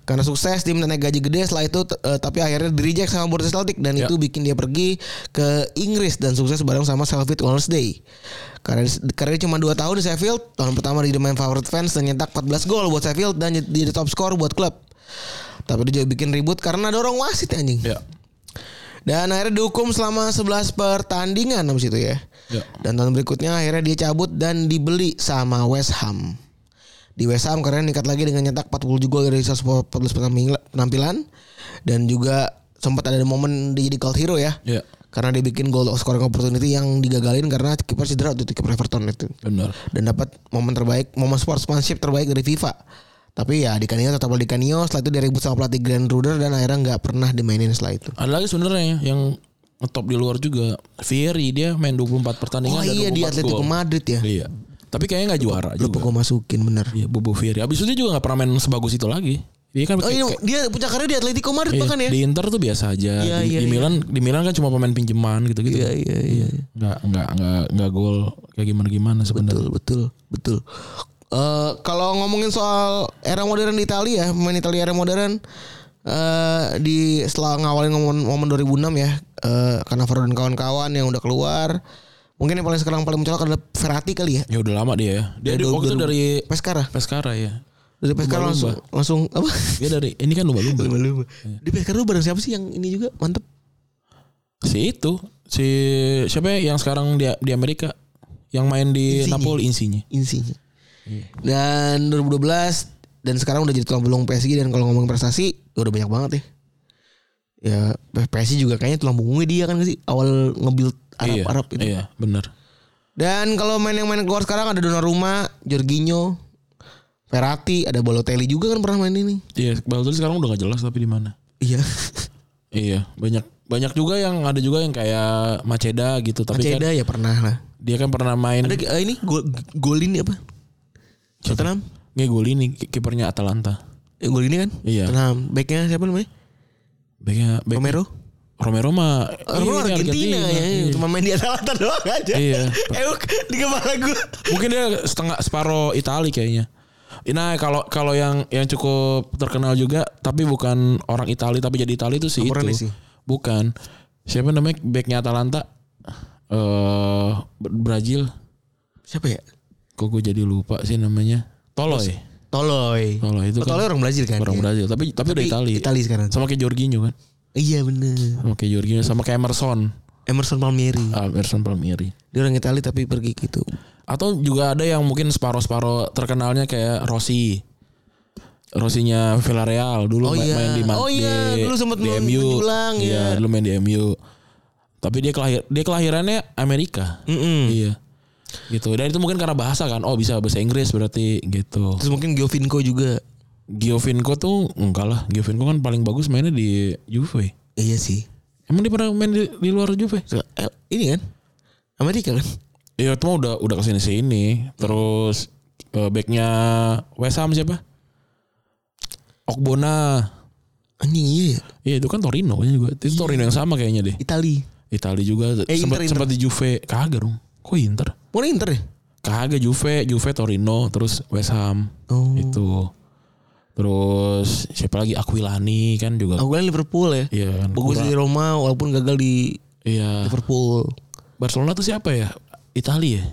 [SPEAKER 3] Karena sukses tim naik gaji gede setelah itu t- eh, tapi akhirnya di reject sama Borussia Celtic dan
[SPEAKER 2] Ya.
[SPEAKER 3] itu bikin dia pergi ke Inggris dan sukses bareng sama Sheffield Wednesday. Karena karena dia cuma 2 tahun di Sheffield, tahun pertama dia jadi main favorit fans dan nyetak 14 gol buat Sheffield dan jadi jadi top skor buat klub. Tapi dia juga bikin ribut karena dorong wasit anjing.
[SPEAKER 2] Ya.
[SPEAKER 3] Dan akhirnya dihukum selama 11 pertandingan habis itu ya.
[SPEAKER 2] Ya.
[SPEAKER 3] Dan tahun berikutnya akhirnya dia cabut dan dibeli sama West Ham. Di West Ham karena meningkat lagi dengan nyetak 40 gol dari 114 penampil- penampilan dan juga sempat ada momen dia jadi cult hero ya.
[SPEAKER 2] Ya.
[SPEAKER 3] Karena dia bikin goal scoring opportunity yang digagalin karena kiper cedera waktu itu kiper Everton itu
[SPEAKER 2] Benar.
[SPEAKER 3] dan dapat momen terbaik, momen sportsmanship terbaik dari FIFA. Tapi ya di Canio tetap di Canio, setelah itu dia ribut sama pelatih Grand Ruder dan akhirnya nggak pernah dimainin setelah itu.
[SPEAKER 2] Ada lagi sebenarnya yang ngetop di luar juga. Fieri dia main 24 pertandingan
[SPEAKER 3] Oh
[SPEAKER 2] dan
[SPEAKER 3] iya di
[SPEAKER 2] 24
[SPEAKER 3] Atletico
[SPEAKER 2] gol.
[SPEAKER 3] Madrid ya.
[SPEAKER 2] Iya. Tapi kayaknya nggak juara juga.
[SPEAKER 3] Lupa gue masukin bener.
[SPEAKER 2] Iya, Bobo Fieri. Abis itu dia juga nggak pernah main sebagus itu lagi. Dia kan
[SPEAKER 3] Oh
[SPEAKER 2] kayak-
[SPEAKER 3] iya, dia puncak karir di Atletico Madrid
[SPEAKER 2] Iya,
[SPEAKER 3] bahkan ya.
[SPEAKER 2] Di Inter tuh biasa aja.
[SPEAKER 3] Iya,
[SPEAKER 2] di,
[SPEAKER 3] iya,
[SPEAKER 2] di
[SPEAKER 3] iya.
[SPEAKER 2] Milan, di Milan kan cuma pemain pinjaman gitu-gitu.
[SPEAKER 3] Iya iya iya. iya.
[SPEAKER 2] Nggak nggak nggak nggak gol kayak gimana gimana sebenarnya.
[SPEAKER 3] Betul betul betul. Eh, kalau ngomongin soal era modern di Italia, ya, pemain Italia era modern eh di setelah ngawalin momen, momen 2006 ya, eh Cannavaro dan kawan-kawan yang udah keluar. Mungkin yang paling sekarang paling mencolok adalah Ferrati kali ya.
[SPEAKER 2] Ya udah lama dia ya. Dia dari,
[SPEAKER 3] Dari
[SPEAKER 2] waktu itu
[SPEAKER 3] 2000.
[SPEAKER 2] dari
[SPEAKER 3] Pescara.
[SPEAKER 2] Pescara ya.
[SPEAKER 3] Dari Pescara langsung
[SPEAKER 2] Lumba-lumba. Iya.
[SPEAKER 3] langsung apa?
[SPEAKER 2] Dia dari ini kan lumba-lumba.
[SPEAKER 3] Lumba-lumba. Di Pescara lu bareng siapa sih yang ini juga? Mantep.
[SPEAKER 2] si itu si siapa ya yang sekarang di di Amerika yang main di
[SPEAKER 3] Insigne.
[SPEAKER 2] Napoli insinya.
[SPEAKER 3] insinya.
[SPEAKER 2] Iya.
[SPEAKER 3] Dan 2012 dan sekarang udah jadi tulang pulung PSG dan kalau ngomongin prestasi udah banyak banget ya. Ya PSG juga kayaknya tulang punggungnya dia kan nggak sih awal nge-build Arab
[SPEAKER 2] iya,
[SPEAKER 3] Arab gitu. itu.
[SPEAKER 2] Iya, benar.
[SPEAKER 3] Dan kalau main yang main keluar sekarang ada Donnarumma, Jorginho, Ferrati, ada Balotelli juga kan pernah main ini.
[SPEAKER 2] Iya, Balotelli sekarang udah gak jelas tapi di mana.
[SPEAKER 3] Iya.
[SPEAKER 2] Iya, banyak banyak juga yang ada juga yang kayak Maceda gitu tapi kan
[SPEAKER 3] Maceda ya pernah lah.
[SPEAKER 2] dia kan pernah main
[SPEAKER 3] Ada eh, ini gol golin apa? Tottenham.
[SPEAKER 2] Nggak gol ini ki- kipernya Atalanta.
[SPEAKER 3] Eh, gol ini kan?
[SPEAKER 2] Iya.
[SPEAKER 3] Tottenham. Backnya siapa namanya?
[SPEAKER 2] Backnya back-
[SPEAKER 3] Romero.
[SPEAKER 2] Romero mah
[SPEAKER 3] Romero
[SPEAKER 2] ini
[SPEAKER 3] Argentina, ya,
[SPEAKER 2] Iya.
[SPEAKER 3] cuma main di Atalanta doang aja.
[SPEAKER 2] Iya.
[SPEAKER 3] Eh, di kepala gue.
[SPEAKER 2] Mungkin dia setengah separo Itali kayaknya. Nah, kalau kalau yang yang cukup terkenal juga tapi bukan orang Itali tapi jadi Itali itu si
[SPEAKER 3] Amorelli
[SPEAKER 2] itu.
[SPEAKER 3] sih.
[SPEAKER 2] Bukan. Siapa namanya backnya Atalanta? Eh Brazil.
[SPEAKER 3] Siapa ya?
[SPEAKER 2] Kok gue jadi lupa sih namanya? Toloi.
[SPEAKER 3] Toloy.
[SPEAKER 2] Toloi itu
[SPEAKER 3] Oh,
[SPEAKER 2] kan
[SPEAKER 3] Toloy orang Brazil kan?
[SPEAKER 2] orang
[SPEAKER 3] Iya.
[SPEAKER 2] Brazil tapi tapi, udah
[SPEAKER 3] Tapi
[SPEAKER 2] Itali.
[SPEAKER 3] Itali sekarang.
[SPEAKER 2] Sama kayak Jorginho kan?
[SPEAKER 3] Iya bener.
[SPEAKER 2] Sama kayak Jorginho sama kayak Emerson.
[SPEAKER 3] Emerson Palmieri.
[SPEAKER 2] Ah, Emerson Palmieri.
[SPEAKER 3] Dia orang Itali tapi pergi gitu.
[SPEAKER 2] Atau juga ada yang mungkin separo-separo terkenalnya kayak Rossi. Rossinya Villarreal dulu
[SPEAKER 3] Oh
[SPEAKER 2] ma-
[SPEAKER 3] iya.
[SPEAKER 2] main di Man-
[SPEAKER 3] Oh iya,
[SPEAKER 2] di-
[SPEAKER 3] dulu sempet
[SPEAKER 2] di
[SPEAKER 3] men-
[SPEAKER 2] MU.
[SPEAKER 3] menjulang,
[SPEAKER 2] Iya,
[SPEAKER 3] iya.
[SPEAKER 2] dulu main di MU. Tapi dia kelahir dia kelahirannya Amerika.
[SPEAKER 3] Mm-mm.
[SPEAKER 2] Iya. Gitu. Dan itu mungkin karena bahasa kan. Oh, bisa bahasa Inggris berarti gitu.
[SPEAKER 3] Terus mungkin Giovinco juga.
[SPEAKER 2] Giovinco tuh enggak lah. Giovinco kan paling bagus mainnya di Juve.
[SPEAKER 3] Iya sih.
[SPEAKER 2] Emang dia pernah main di, di luar Juve?
[SPEAKER 3] So, eh, ini kan? Amerika kan?
[SPEAKER 2] Iya, itu mah udah udah kesini sini. Terus eh, backnya West Ham siapa? Okbona.
[SPEAKER 3] Anjing iya ya.
[SPEAKER 2] Iya itu kan Torino kayaknya juga. Itu Torino yang sama kayaknya deh.
[SPEAKER 3] Itali.
[SPEAKER 2] Itali juga
[SPEAKER 3] Iya. Eh,
[SPEAKER 2] sempat
[SPEAKER 3] Inter,
[SPEAKER 2] sempat di Juve. Kagak dong. Kok Inter?
[SPEAKER 3] Mana Inter ya?
[SPEAKER 2] Kagak Juve, Juve Torino, terus West Ham.
[SPEAKER 3] Oh.
[SPEAKER 2] Itu. Terus siapa lagi Aquilani kan juga.
[SPEAKER 3] Aku kan Liverpool ya.
[SPEAKER 2] Iya kan.
[SPEAKER 3] Bagus
[SPEAKER 2] kurang.
[SPEAKER 3] di Roma walaupun gagal di
[SPEAKER 2] Iya.
[SPEAKER 3] Liverpool.
[SPEAKER 2] Barcelona tuh siapa ya? Italia ya?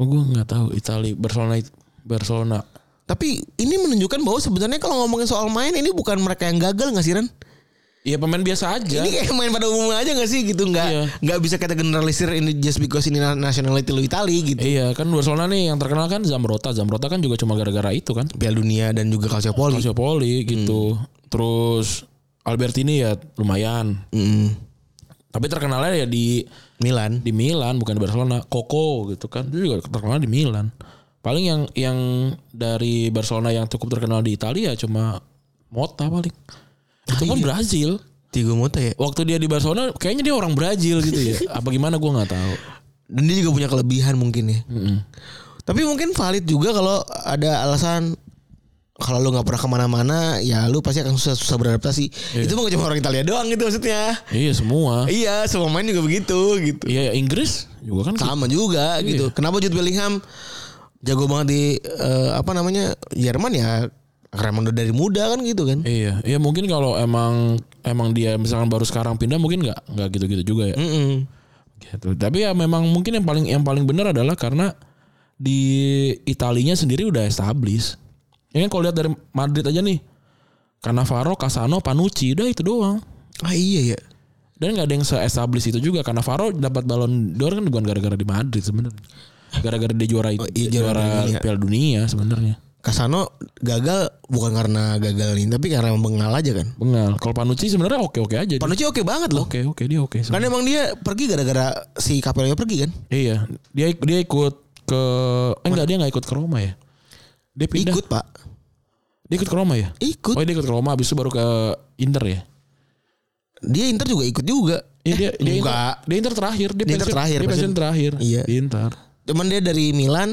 [SPEAKER 2] Oh, gue nggak tahu Italia Barcelona Barcelona
[SPEAKER 3] Tapi ini menunjukkan bahwa sebenarnya kalau ngomongin soal main ini bukan mereka yang gagal nggak sih Ren?
[SPEAKER 2] Iya pemain biasa aja.
[SPEAKER 3] Ini kayak main pada umumnya aja nggak sih gitu nggak
[SPEAKER 2] Iya.
[SPEAKER 3] nggak bisa kita generalisir ini just because ini na- nationality lu Itali gitu.
[SPEAKER 2] Iya kan Barcelona nih yang terkenal kan Zamrota. Zamrota kan juga cuma gara-gara itu kan.
[SPEAKER 3] Piala Dunia dan juga Calciopoli.
[SPEAKER 2] Calciopoli gitu.
[SPEAKER 3] Hmm.
[SPEAKER 2] Terus Albertini ya lumayan.
[SPEAKER 3] Mm.
[SPEAKER 2] Tapi terkenalnya ya di
[SPEAKER 3] Milan.
[SPEAKER 2] di Milan bukan di Barcelona. Koko gitu kan. Dia juga terkenal di Milan. Paling yang yang dari Barcelona yang cukup terkenal di Italia cuma Mota paling. Itu
[SPEAKER 3] Iya.
[SPEAKER 2] pun Brazil.
[SPEAKER 3] Tigo Mota ya.
[SPEAKER 2] Waktu dia di Barcelona kayaknya dia orang Brazil gitu ya. Apa gimana gua nggak tahu.
[SPEAKER 3] Dan dia juga punya kelebihan mungkin ya.
[SPEAKER 2] Mm-mm.
[SPEAKER 3] Tapi mungkin valid juga kalau ada alasan kalau lu nggak pernah kemana-mana ya lu pasti akan susah-susah beradaptasi. Itu mah nggak cuma orang Italia doang gitu maksudnya.
[SPEAKER 2] Iya semua.
[SPEAKER 3] Iya, semua main juga begitu gitu.
[SPEAKER 2] Iya Inggris juga kan
[SPEAKER 3] sama juga gitu. Kenapa Jude Bellingham jago banget di eh, apa namanya Jerman ya? Karena emang udah dari muda kan gitu kan.
[SPEAKER 2] Iya, iya mungkin kalau emang emang dia misalkan baru sekarang pindah mungkin nggak nggak gitu-gitu juga ya.
[SPEAKER 3] Mm-mm.
[SPEAKER 2] Gitu. Tapi ya memang mungkin yang paling yang paling benar adalah karena di Italinya sendiri udah established. Ya kan kalau lihat dari Madrid aja nih, Cannavaro, Casano, Panucci, udah itu doang.
[SPEAKER 3] Ah iya ya.
[SPEAKER 2] Dan nggak ada yang se-establish itu juga. Cannavaro dapat Ballon d'Or kan bukan gara-gara di Madrid sebenarnya. Gara-gara dia juara itu,
[SPEAKER 3] iya, juara
[SPEAKER 2] juara,
[SPEAKER 3] dunia.
[SPEAKER 2] Piala Dunia sebenarnya.
[SPEAKER 3] Kasano gagal bukan karena gagal nih, tapi karena emang bengal aja kan.
[SPEAKER 2] Bengal. Kalau Panucci sebenarnya oke-oke aja. dia.
[SPEAKER 3] Panucci oke banget loh.
[SPEAKER 2] Oke, oke dia oke.
[SPEAKER 3] Kan emang dia pergi gara-gara si Capello pergi kan?
[SPEAKER 2] Iya, dia ik- dia ikut ke eh, enggak dia enggak ikut ke Roma ya. Dia pindah.
[SPEAKER 3] Ikut, Pak.
[SPEAKER 2] Dia ikut ke Roma ya?
[SPEAKER 3] Ikut.
[SPEAKER 2] Oh, dia ikut ke Roma habis itu baru ke Inter ya.
[SPEAKER 3] Dia Inter juga ikut juga.
[SPEAKER 2] Iya, dia dia
[SPEAKER 3] Eh, enggak.
[SPEAKER 2] Inter, dia Inter terakhir, dia,
[SPEAKER 3] Dia Inter
[SPEAKER 2] pensiun-
[SPEAKER 3] terakhir,
[SPEAKER 2] Dia pensiun
[SPEAKER 3] pensiun.
[SPEAKER 2] terakhir.
[SPEAKER 3] Iya.
[SPEAKER 2] Di Inter.
[SPEAKER 3] Cuman dia dari Milan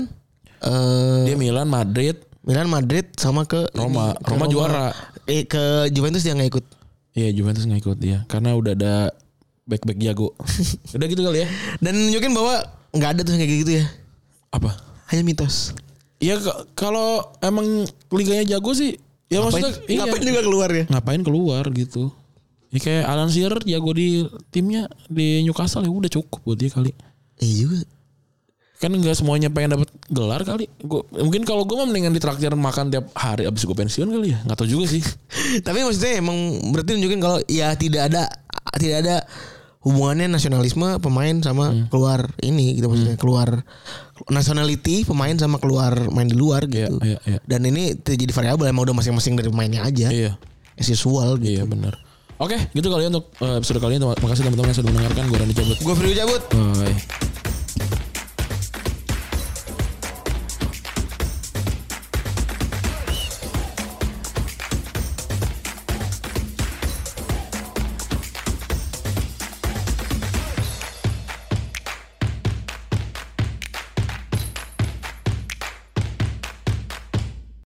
[SPEAKER 3] eh
[SPEAKER 2] Dia Milan, Madrid,
[SPEAKER 3] Milan Madrid sama ke
[SPEAKER 2] Roma.
[SPEAKER 3] ini, ke
[SPEAKER 2] Roma juara.
[SPEAKER 3] Eh ke Juventus dia nggak ikut.
[SPEAKER 2] Iya Juventus nggak ikut ya karena udah ada back back jago. udah gitu kali ya?
[SPEAKER 3] Dan nunjukin bahwa nggak ada tuh yang kayak gitu ya.
[SPEAKER 2] Apa?
[SPEAKER 3] Hanya mitos.
[SPEAKER 2] Iya ka- kalau emang liganya jago sih, ya maksudnya
[SPEAKER 3] Ngapain-
[SPEAKER 2] iya.
[SPEAKER 3] ngapain juga keluar ya?
[SPEAKER 2] ngapain keluar gitu. Ya kayak Alan Shearer jago di timnya di Newcastle ya udah cukup buat dia kali.
[SPEAKER 3] Iya juga.
[SPEAKER 2] Kan nggak semuanya pengen dapat gelar kali. Gua, mungkin kalau gue mah mendingan ditraktir makan tiap hari abis gue pensiun kali ya. Nggak tahu juga sih.
[SPEAKER 3] Tapi maksudnya emang berarti nunjukin kalau ya tidak ada tidak ada hubungannya nasionalisme pemain sama
[SPEAKER 2] Iya.
[SPEAKER 3] keluar ini gitu
[SPEAKER 2] Hmm.
[SPEAKER 3] maksudnya keluar nationality pemain sama keluar main di luar
[SPEAKER 2] Iya,
[SPEAKER 3] gitu.
[SPEAKER 2] iya, iya.
[SPEAKER 3] Dan ini jadi variabel emang udah masing-masing dari pemainnya aja.
[SPEAKER 2] Iya,
[SPEAKER 3] As usual
[SPEAKER 2] iya
[SPEAKER 3] gitu.
[SPEAKER 2] benar. Oke, gitu kali ya untuk eh, episode kali ini. Terima kasih teman-teman yang sudah mendengarkan. Gue Randy Cabut.
[SPEAKER 3] Gue Frio cabut.
[SPEAKER 2] Bye.